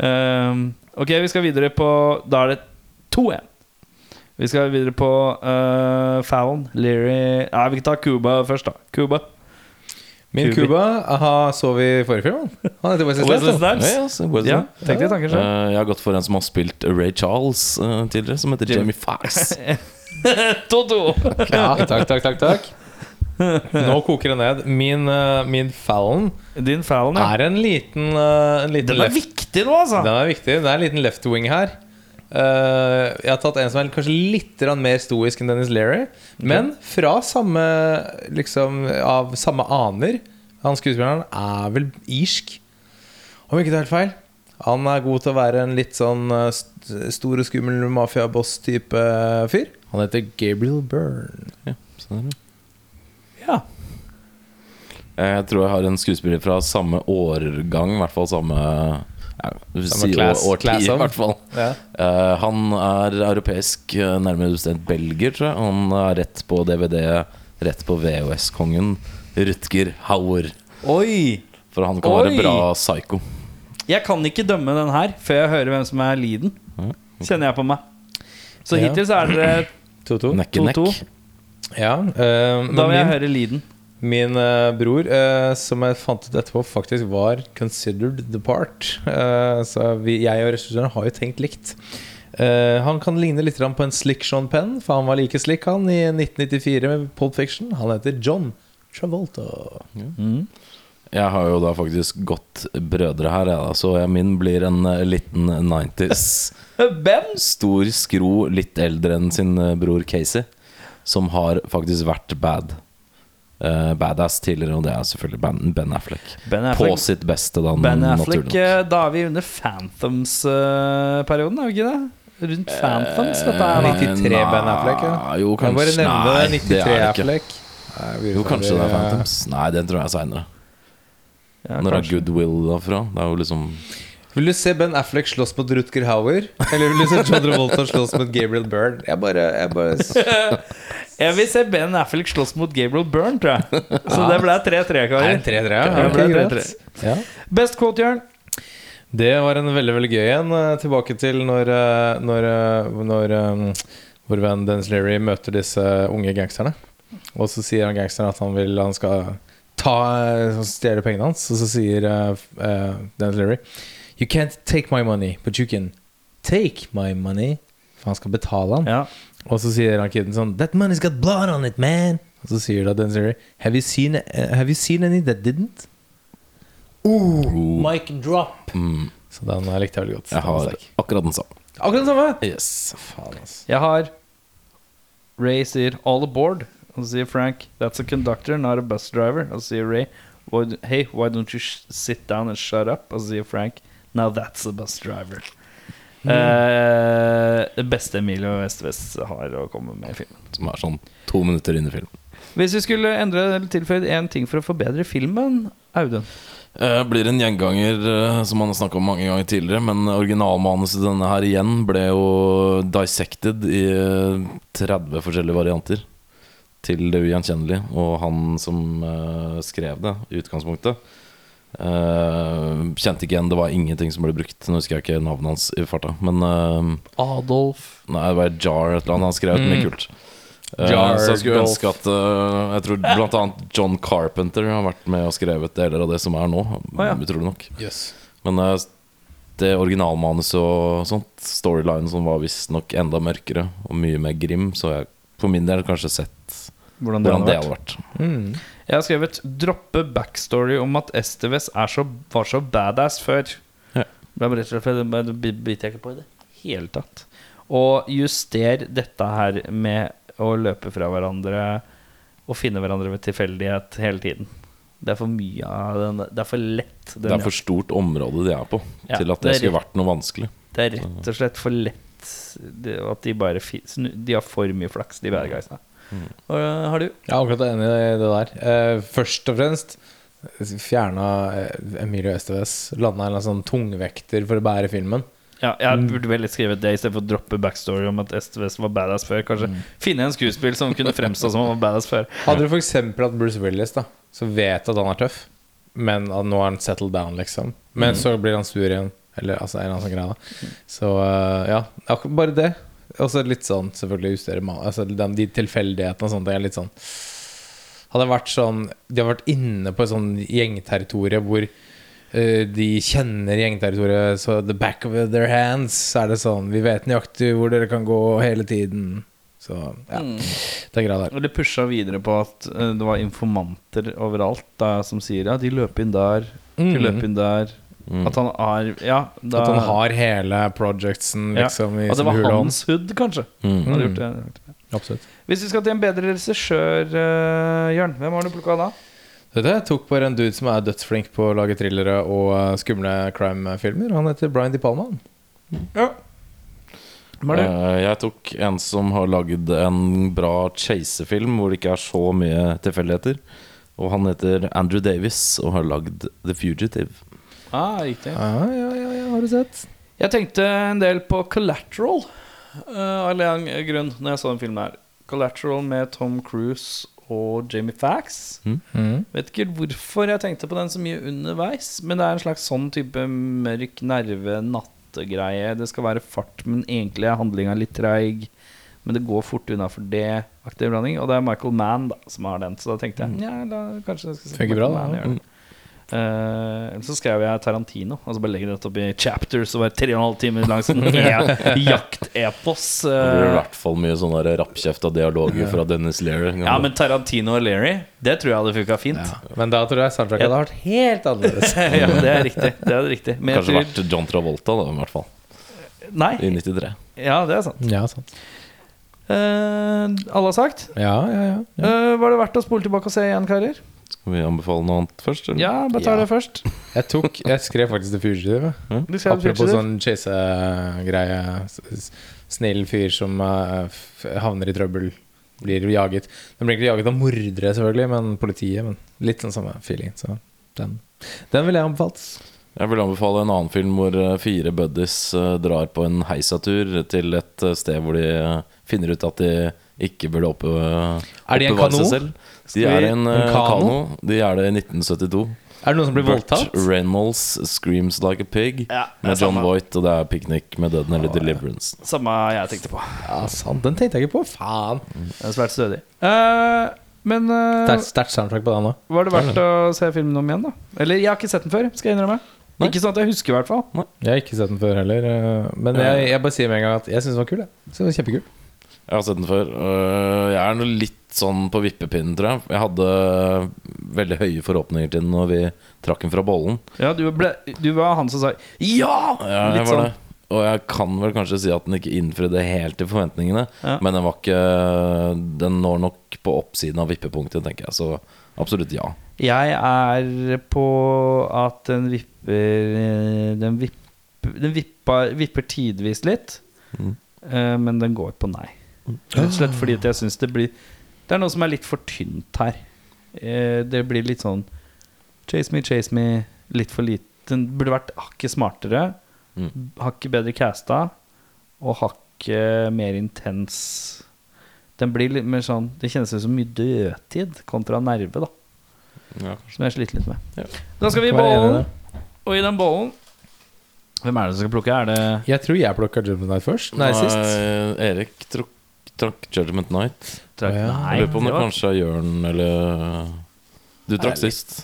S3: Ehm, ok, vi skal videre på Da er det 2-1. Vi skal videre på uh, Fallon, Leary Nei, vi tar Cuba først, da. Cuba.
S1: Min
S3: Kubi.
S1: Cuba aha, så vi i forrige film. han. Han heter Wesley
S3: Wesley
S1: Snipes.
S3: Snipes.
S2: ja, så går det
S3: Ja,
S2: sånn.
S3: tenk deg tanken selv.
S2: Eh, jeg har gått for en som har spilt Ray Charles eh, tidligere, som heter
S3: Jamie-
S2: Jamie Foxx.
S3: 2-2.
S1: Ja, takk, takk, takk, takk. Nå koker det ned. Min, eh, min Fallon
S3: Din Fallon, ja.
S1: er en liten, eh, en liten
S3: Den er
S1: left
S3: viktig nå, altså!
S1: Den er viktig. Det er en liten left wing her. Eh, jeg har tatt en som er kanskje litt grann mer stoisk enn Dennis Leary, men fra samme liksom, av samme aner. Han skuespilleren er vel irsk, om ikke det er helt feil. Han er god til å være en litt sånn eh, st- stor og skummel mafiaboss-type eh, fyr. Han heter Gabriel Byrne.
S2: Ja, så der, ja.
S3: Ja.
S2: Eh, Jeg tror jeg har en skuespiller fra samme årgang, i hvert fall samme ja, si
S1: class-
S2: år, årti,
S1: class
S2: i
S1: of.
S2: hvert fall.
S1: Ja.
S2: Eh, han er europeisk, eh, nærmere bestemt belgier, tror jeg. Han er rett på DVD, rett på VHS-kongen Rutger Hauer.
S3: Oi!
S2: For han kan være
S3: Oi!
S2: bra psycho.
S3: Jeg kan ikke dømme den her før jeg hører hvem som er leaden. Kjenner jeg på meg. Så
S1: Ja.
S3: hittil så er dere
S1: 2-2.
S2: Neck and neck.
S3: 2-2.
S1: Ja, eh, men
S3: Da vil jeg
S1: min-
S3: høre leaden.
S1: Min eh, bror, eh, som jeg fant ut etterpå, faktisk var considered the part. Eh, så vi, jeg og regissøren har jo tenkt likt. Eh, han kan ligne litt grann på en slick Sean Penn, for han var like slick han i 1994 med Pulp Fiction. Han heter John Travolta.
S2: Jeg har jo da faktisk gått brødre her, jeg da, så jeg min blir en eh, liten 90s.
S3: Ben!
S2: Stor skro, litt eldre enn sin eh, bror Casey, som har faktisk vært bad. eh, badass tidligere, og det er selvfølgelig Ben, ben Affleck.
S3: Ben Affleck.
S2: På sitt beste, da.
S3: Ben
S2: Mm, naturlig
S3: Affleck,
S2: nok.
S3: eh, da er vi under Phantoms-perioden, er vi ikke det? Rundt Phantoms, dette er da.
S2: Eh,
S1: 93
S2: nei,
S1: Ben Affleck, ja.
S2: jo,
S1: Kan jeg bare
S2: kanskje-
S1: nevne
S2: nei,
S1: det.
S2: det
S1: 93
S2: er det ikke.
S1: Affleck. Nei, vi-
S2: Jo, kanskje det er
S1: vi-
S2: Phantoms. Nei, den tror jeg er seinere.
S3: eh, Ja,
S2: Når det er
S3: kanskje.
S2: Goodwill derfra. Det er jo liksom
S1: Vil du se Ben Affleck slåss mot Rutger Hauer? Eller vil du se John Travolta slåss mot Gabriel Byrne? Jeg bare, jeg bare
S3: Jeg vil se Ben Affleck slåss mot Gabriel Byrne, tror jeg. Så det ble 3-3,
S1: Det er en
S3: karer.
S1: 3-3.
S3: Ja,
S1: ja.
S3: det er
S1: Ok,
S3: en
S1: greit.
S3: 3-3.
S1: Ja.
S3: Best quote, Jørn.
S1: Det var en veldig veldig gøy en. eh, Tilbake til når, eh, når, eh, når eh, vår venn Dennis Leary møter disse unge gangsterne. Og så sier han gangsteren at han, vil, han skal ta eh, stjele pengene hans. Og så sier eh, f- eh, Dennis Leary You can't take my money, but you can take my money. For han skal betale han.
S3: Ja.
S1: Og så sier han kiden sånn That money's got blood on it, man. Og så sier da Dennis Leary Have you seen, eh, have you seen any that didn't? Ooh, mic drop.
S2: mm,
S1: Så den eh, likte jeg veldig godt.
S2: Jeg har akkurat den samme.
S1: Akkurat den samme!
S2: Yes.
S1: Faen, altså.
S3: Jeg har Ray sier 'all aboard', og så sier Frank 'that's a conductor, not a bus driver'. Og så sier Ray why, d- 'hey, why don't you sh sit down and shut up'? Og så sier Frank 'now that's a bus driver'. Mm. Eh, det beste Emilio Westwest har å komme med i filmen.
S2: Som er sånn to minutter inn i filmen.
S3: Hvis vi skulle endre eller tilføyd én ting for å forbedre filmen, Audun
S2: Eh, blir en gjenganger eh, som man har snakka om mange ganger tidligere, men originalmanuset denne her igjen ble jo dissected i eh, 30 forskjellige varianter til det ugjenkjennelige. Og han som eh, skrev det i utgangspunktet, eh, kjente ikke igjen Det var ingenting som ble brukt. Nå husker jeg ikke navnet hans i farta, men eh,
S1: Adolf Mm.
S2: Nei, det var Jar et eller annet. Han skrev ut mye kult. Eh,
S1: Jar,
S2: så jeg skulle
S1: Dolph.
S2: ønske at eh, Jeg tror blant annet John Carpenter har vært med og skrevet deler av det som er nå.
S3: ja.
S2: Utrolig nok.
S1: Jøss.
S2: Men eh, det originalmanuset og sånt, storylinen som var visstnok enda mørkere og mye mer grim, så jeg for min del kanskje sett
S3: hvordan
S2: hvordan det
S3: vært?
S2: hadde vært.
S1: Mm.
S3: Jeg har skrevet 'droppe backstory om at Esteves er så, var så badass før'.
S2: Ja.
S3: Det er bare rett og slett fordi det- det bi- biter jeg ikke på i det hele tatt. Og juster dette her med å løpe fra hverandre og finne hverandre ved tilfeldighet hele tiden. Det er for mye av den Det er for lett. Den,
S2: Det er for stort område de er på
S3: Ja,
S2: til at det,
S3: det er
S2: skulle vært noe vanskelig.
S3: det er rett og slett for lett. Det, at de bare fi- snu- De har for mye flaks, de
S2: Mm.
S3: bad guysene. Og, øh, har du?
S1: Jeg er akkurat enig i det der. Eh, først og fremst eh, fjerna eh, Emilio Esteves. Landa en eller annen sånn tungvekter for å bære filmen.
S3: Ja, jeg burde vel litt skrevet det istedenfor å droppe backstory om at SVS var badass før. Kanskje finne en skuespill som kunne fremstå som han var badass før.
S1: Hadde du f.eks. hatt Bruce Willis, da som vet at han er tøff, men at nå er han settled down, liksom. Men så blir han sur igjen, eller altså, en eller annen sånn greie. da. Så eh, ja, ak- bare det. Og så litt sånn selvfølgelig justere ma- altså, den, De tilfeldighetene og sånt. Det er litt sånn Hadde jeg vært sånn De har vært inne på et sånn gjengterritorium hvor eh, de kjenner gjengterritoriet så the back of their hands. Så er det sånn Vi vet nøyaktig hvor dere kan gå hele tiden. Så ja, det er greia der.
S3: Og det pusha videre på at eh, det var informanter overalt da, som sier ja, de løper inn der, de
S1: Mm.
S3: løper inn der. At han er Ja, da,
S1: At han har hele projectsen liksom i
S3: At det
S1: sin
S3: var
S1: hule hånd.
S3: hans hood, kanskje.
S1: Mm.
S3: Han hadde gjort det.
S1: Absolutt.
S3: Hvis vi skal til en bedre regissør, eh, Jørn, hvem har du plukka da?
S1: Dette tok bare en dude som er dødsflink på å lage thrillere og eh, skumle crime-filmer. Han heter Brian De Palma. han.
S3: Hva er det?
S2: Eh, jeg tok en som har lagd en bra chasefilm hvor det ikke er så mye tilfeldigheter. Og han heter Andrew Davis og har lagd The Fugitive.
S3: Ah, riktig.
S1: Ja, ja, ja, ja, har du sett?
S3: Jeg tenkte en del på Collateral eh, av en eller annen grunn når jeg så den filmen her. Collateral med Tom Cruise og Jamie Fax.
S1: Mm.
S3: Vet ikke hvorfor jeg tenkte på den så mye underveis, men det er en slags sånn type mørk nerve nattegreie. Det skal være fart, men egentlig er handlinga litt treig. Men det går fort unna for det. Aktiv blanding. Og det er Michael Mann da, som har den, så da tenkte jeg ja, da kanskje jeg skal se på
S1: Funker bra,
S3: Michael
S1: da.
S3: Mann gjøre det. Eh, Eller så skrev jeg Tarantino. Altså bare legge dette opp i chapters og være tre og en halv time lang sånn e- jaktepos.
S2: Det blir i
S3: eh.
S2: hvert fall mye sånne der rappkjefta dialoger fra Dennis Leary.
S3: Ja, men Tarantino og Leary, det tror jeg hadde funka fint.
S1: Mm. Men da tror jeg soundtracket hadde vært helt annerledes.
S3: ja, det er riktig. Det er riktig. Men jeg
S2: Kanskje
S3: tror,
S2: vært John Travolta, da, i hvert fall.
S3: nei.
S2: I 93.
S3: Ja, det er sant.
S1: ja, sant.
S3: Eh, alle har sagt.
S1: Ja, ja, ja. ja.
S3: Eh, var det verdt å spole tilbake og se igjen, karer?
S2: Skal vi anbefale noe annet først? eller?
S3: Ja, bare ta det først.
S1: Jeg, tok, jeg skrev faktisk The Fugitive.
S2: Mhm.
S1: jeg.
S3: Du skrev
S1: Apropos
S3: Fugitive.
S1: sånn chase-greie. S- s- Snill fyr som eh, f- havner i trøbbel, blir jaget. Den blir ikke jaget av mordere, selvfølgelig, men politiet. Men litt sånn samme feeling. Så den, den ville jeg anbefalt.
S2: Jeg vil anbefale en annen film hvor eh, fire buddies eh, drar på en heisatur til et eh, sted hvor de eh, finner ut at de ikke burde oppe, eh,
S1: Er de en
S2: oppbevare
S1: kano?
S2: seg selv. De
S1: vi-
S2: er en, eh,
S1: en kano?
S2: kano. De er det i 1972.
S1: Er det noen som blir
S2: Burt
S1: voldtatt?
S2: Reynolds 'Screams Like a Pig'
S3: Ja, det er
S2: med John
S3: samme.
S2: Voight, og det er 'Picnic med døden' eller 'Deliverance'.
S3: Samme jeg tenkte på.
S1: Ja, sant, den tenkte jeg ikke på. Faen.
S3: Det er svært stødig. Eh, men eh,
S1: Sterkt sterkt soundtrack på den òg.
S3: Var det verdt å se filmen om igjen, da? Eller jeg har ikke sett den før, skal jeg innrømme. Ikke sånn at jeg husker, i hvert fall.
S1: Jeg har ikke sett den før heller. eh, Men jeg, jeg bare sier med en gang at jeg syns den var kul. Jeg. Så den var Kjempekul.
S2: Jeg har sett den før. Øh, Jeg er nå litt sånn på vippepinnen, tror jeg. Jeg hadde veldig høye forhåpninger til den når vi trakk den fra bollen.
S3: Ja, du, ble, du var han som sa ja!
S2: Ja, jeg var
S3: Litt sånn.
S2: det. Og jeg kan vel kanskje si at den ikke innfridde helt til forventningene.
S3: Ja.
S2: Men den var ikke Den når nok på oppsiden av vippepunktet, tenker jeg. Så absolutt ja.
S3: Jeg er på at den vipper eh, Den, vipp, den vipper, vipper tidvis litt, eh, men den går på nei. Rett og slett fordi at jeg syns det blir Det er noe som er litt for tynt her. Eh, Det blir litt sånn Chase me, chase me. Litt for lite. Den burde vært hakket smartere,
S2: Mm.
S3: hakket bedre casta og hakket mer intens. Den blir litt mer sånn Det kjennes ut som mye dødtid kontra nerve, da. Som jeg sliter litt med. Da skal vi i
S1: Hva er
S3: bollen.
S1: det?
S3: Og i den bollen Hvem er det som skal plukke? Er det
S1: Jeg tror jeg plukka Judgment Night først. Nei, sist.
S2: Erik trakk, trakk Judgment Night.
S1: Å, ja.
S3: Nei,
S2: Jeg lurer på om
S3: det
S2: det
S3: var,
S2: kanskje er Jørn eller Du trakk sist.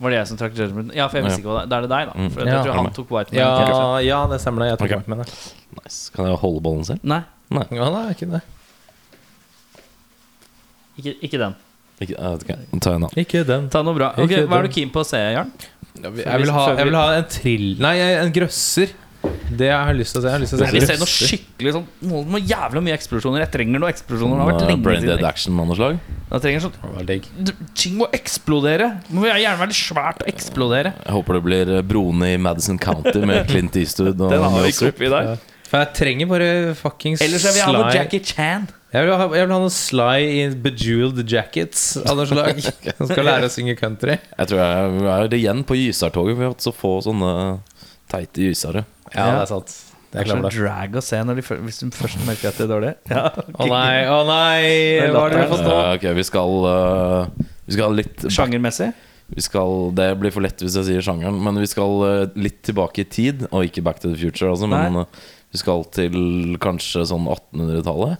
S3: var det jeg som trakk judgment? Ja, for jeg visste ikke hva det Da er det deg, da.
S2: Mm.
S3: For jeg
S1: Ja.
S3: tror han tok white man. kanskje.
S1: Ja, ja, det stemmer. det. Jeg tok
S2: Ok.
S1: okay. med det.
S2: Nice. Kan jeg holde bollen selv?
S3: Nei,
S2: Nei.
S1: Ja, nei, ikke det.
S3: ikke, ikke den.
S2: Ikke, eh, ok, Ta en annen.
S1: Ikke den.
S3: Ta noe bra. Ok,
S1: Ikke
S3: Hva er
S1: den.
S3: du keen på å se, Jørn?
S1: Jeg vil ha, jeg vil ha en trill... Nei, en grøsser. Det jeg har lyst til å se. Jeg har lyst til å
S3: Nei,
S1: se
S3: vi ser noe
S1: grøsser.
S3: skikkelig sånn Noe noe jævla mye eksplosjoner. Jeg trenger noe eksplosjoner. Det har vært
S2: Sånn,
S3: lenge
S2: Brain dead
S3: siden.
S2: action-manneslag.
S3: Jeg trenger sånn
S1: Det var digg.
S3: d- Ting må eksplodere. Det Må gjerne være litt svært å eksplodere.
S2: Jeg håper det blir eh, broene i Madison County med Clint Eastwood og
S3: Den har vi
S2: Meryl
S3: ikke
S2: Streep.
S3: oppi i dag.
S1: For jeg trenger bare fuckings
S3: Ellers vil jeg ha noe
S1: Sly.
S3: Jackie Chan.
S1: Jeg vil, ha, jeg vil ha noe Sly i bejeweled jackets av noe slag. Som skal lære å synge country.
S2: Jeg tror jeg er igjen på gysertoget. Vi har hatt så få sånne teite gysere.
S1: Ja,
S3: Ja.
S1: det er sant. Det er
S3: sånn
S1: klart.
S3: drag å se når de, fø- hvis de først merker at det er dårlig. Ja.
S1: Å nei, å nei!
S3: Det er
S1: Hva har dere
S3: latteren.
S1: fått nå?
S2: Eh, ok, vi skal eh, Vi skal litt
S3: Sjangermessig.
S2: vi skal, Det blir for lett hvis jeg sier sjangeren, men vi skal eh, litt tilbake i tid. Og ikke Back to the Future, altså, men
S3: Nei.
S2: eh, vi skal til kanskje sånn 1800-tallet.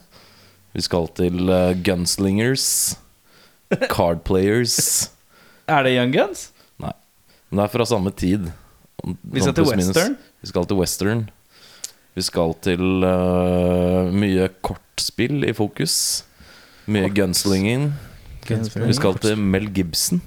S2: Vi skal til eh, gunslingers, card players
S3: Er det Young Guns?
S2: Nei. Men det er fra samme tid.
S3: Vi skal
S2: Sånn
S3: til
S2: pluss minus.
S3: western.
S2: Vi skal til western. Vi skal til eh, mye kortspill i fokus. Mye gunslinging. Vi skal til Mel Gibson.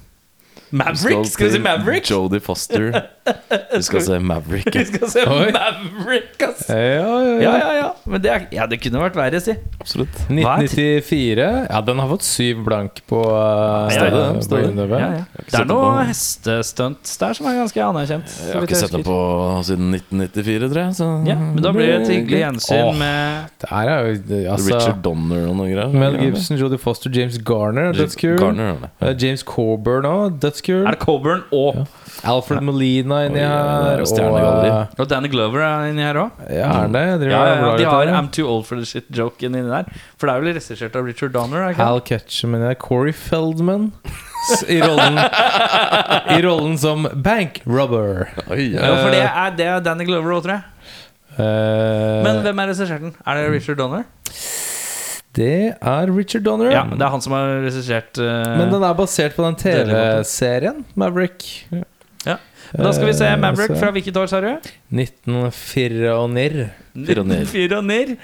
S3: Maverick? Skal vi si
S2: til
S3: Maverick?
S2: Jodie Foster. Vi skal se Maverick.
S3: Vi skal se
S1: Oi.
S3: Maverick, ass!
S1: Ja, ja,
S3: Ja,
S1: ja.
S3: ja, ja. Men det, er, ja, det kunne vært verre, si.
S2: Absolutt.
S1: 1994. Ja, den har fått syv blank på uh,
S3: Ja, ja, ja.
S1: på
S2: Står det.
S1: IMDb.
S3: Ja,
S2: ikke
S3: ja. Det
S2: sett
S3: er
S2: den
S3: noen
S2: på.
S3: hestestunts der som er ganske anerkjent. så
S2: Jeg har
S3: vidt
S2: ikke sett den
S3: husker.
S2: på siden 1994, tror jeg. Så
S3: Ja, men da blir det et hyggelig gjensyn
S1: Åh.
S3: med
S1: Det her er jo altså,
S2: Richard Donner og noe greier.
S1: Mel Gibson, Jodie Foster, James Garner, Dødskur.
S2: Garner, er det.
S1: Eh, James Corburn òg, Dødskur.
S3: Er det Coburn og
S1: Alfred Molina inni
S2: Oi, det
S1: her.
S2: er jo
S1: Og,
S2: stjernegalleri.
S3: Og Danny Glover er inni her òg.
S1: eh, ja, er det? Jeg driver
S3: Ja,
S1: og
S3: ja,
S1: blar
S3: de
S1: litt
S3: har
S1: her, ja.
S3: I'm too old for this shit-joken inni der. For det er vel regissert av Richard Donner? er det Ikke?
S1: Hal Ketchum inni der. Corey Feldman s- i rollen, i rollen som bank robber.
S2: Oi,
S3: det?
S2: ja.
S3: Jo, for det er det er Danny Glover òg, tror jeg.
S1: Eh,
S3: Men hvem er regissert den? Er det Richard Donner?
S1: det er Richard Donner.
S3: Ja, det er han som har regissert eh,
S1: Men den er basert på den
S3: Deilig måte.
S1: TV-serien Maverick.
S3: Ja. Men Da skal vi se
S1: Eh,
S3: Maverick
S1: så-
S3: fra hvilket år, sa du?
S1: 1994.
S2: Pioner.
S3: Pioner.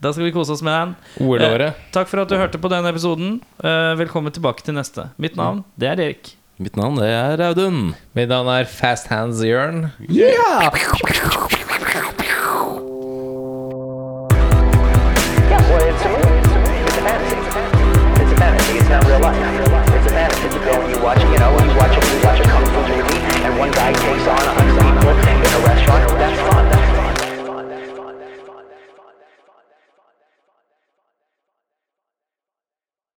S3: Da skal vi kose oss med den.
S1: OL-året.
S3: Takk for at du hørte på denne episoden. Eh, Velkommen tilbake til neste. Mitt navn, det er Erik.
S2: Mitt navn det er Audun.
S1: Mitt navn er Fast Hands Jørn.
S4: Yeah, well, it's a movie. It's a movie. It's a fantasy. It's a fantasy. It's not real life. It's a fantasy. You go and you watch, you know, you watch, you watch a kung fu movie, and one guy takes on a hundred.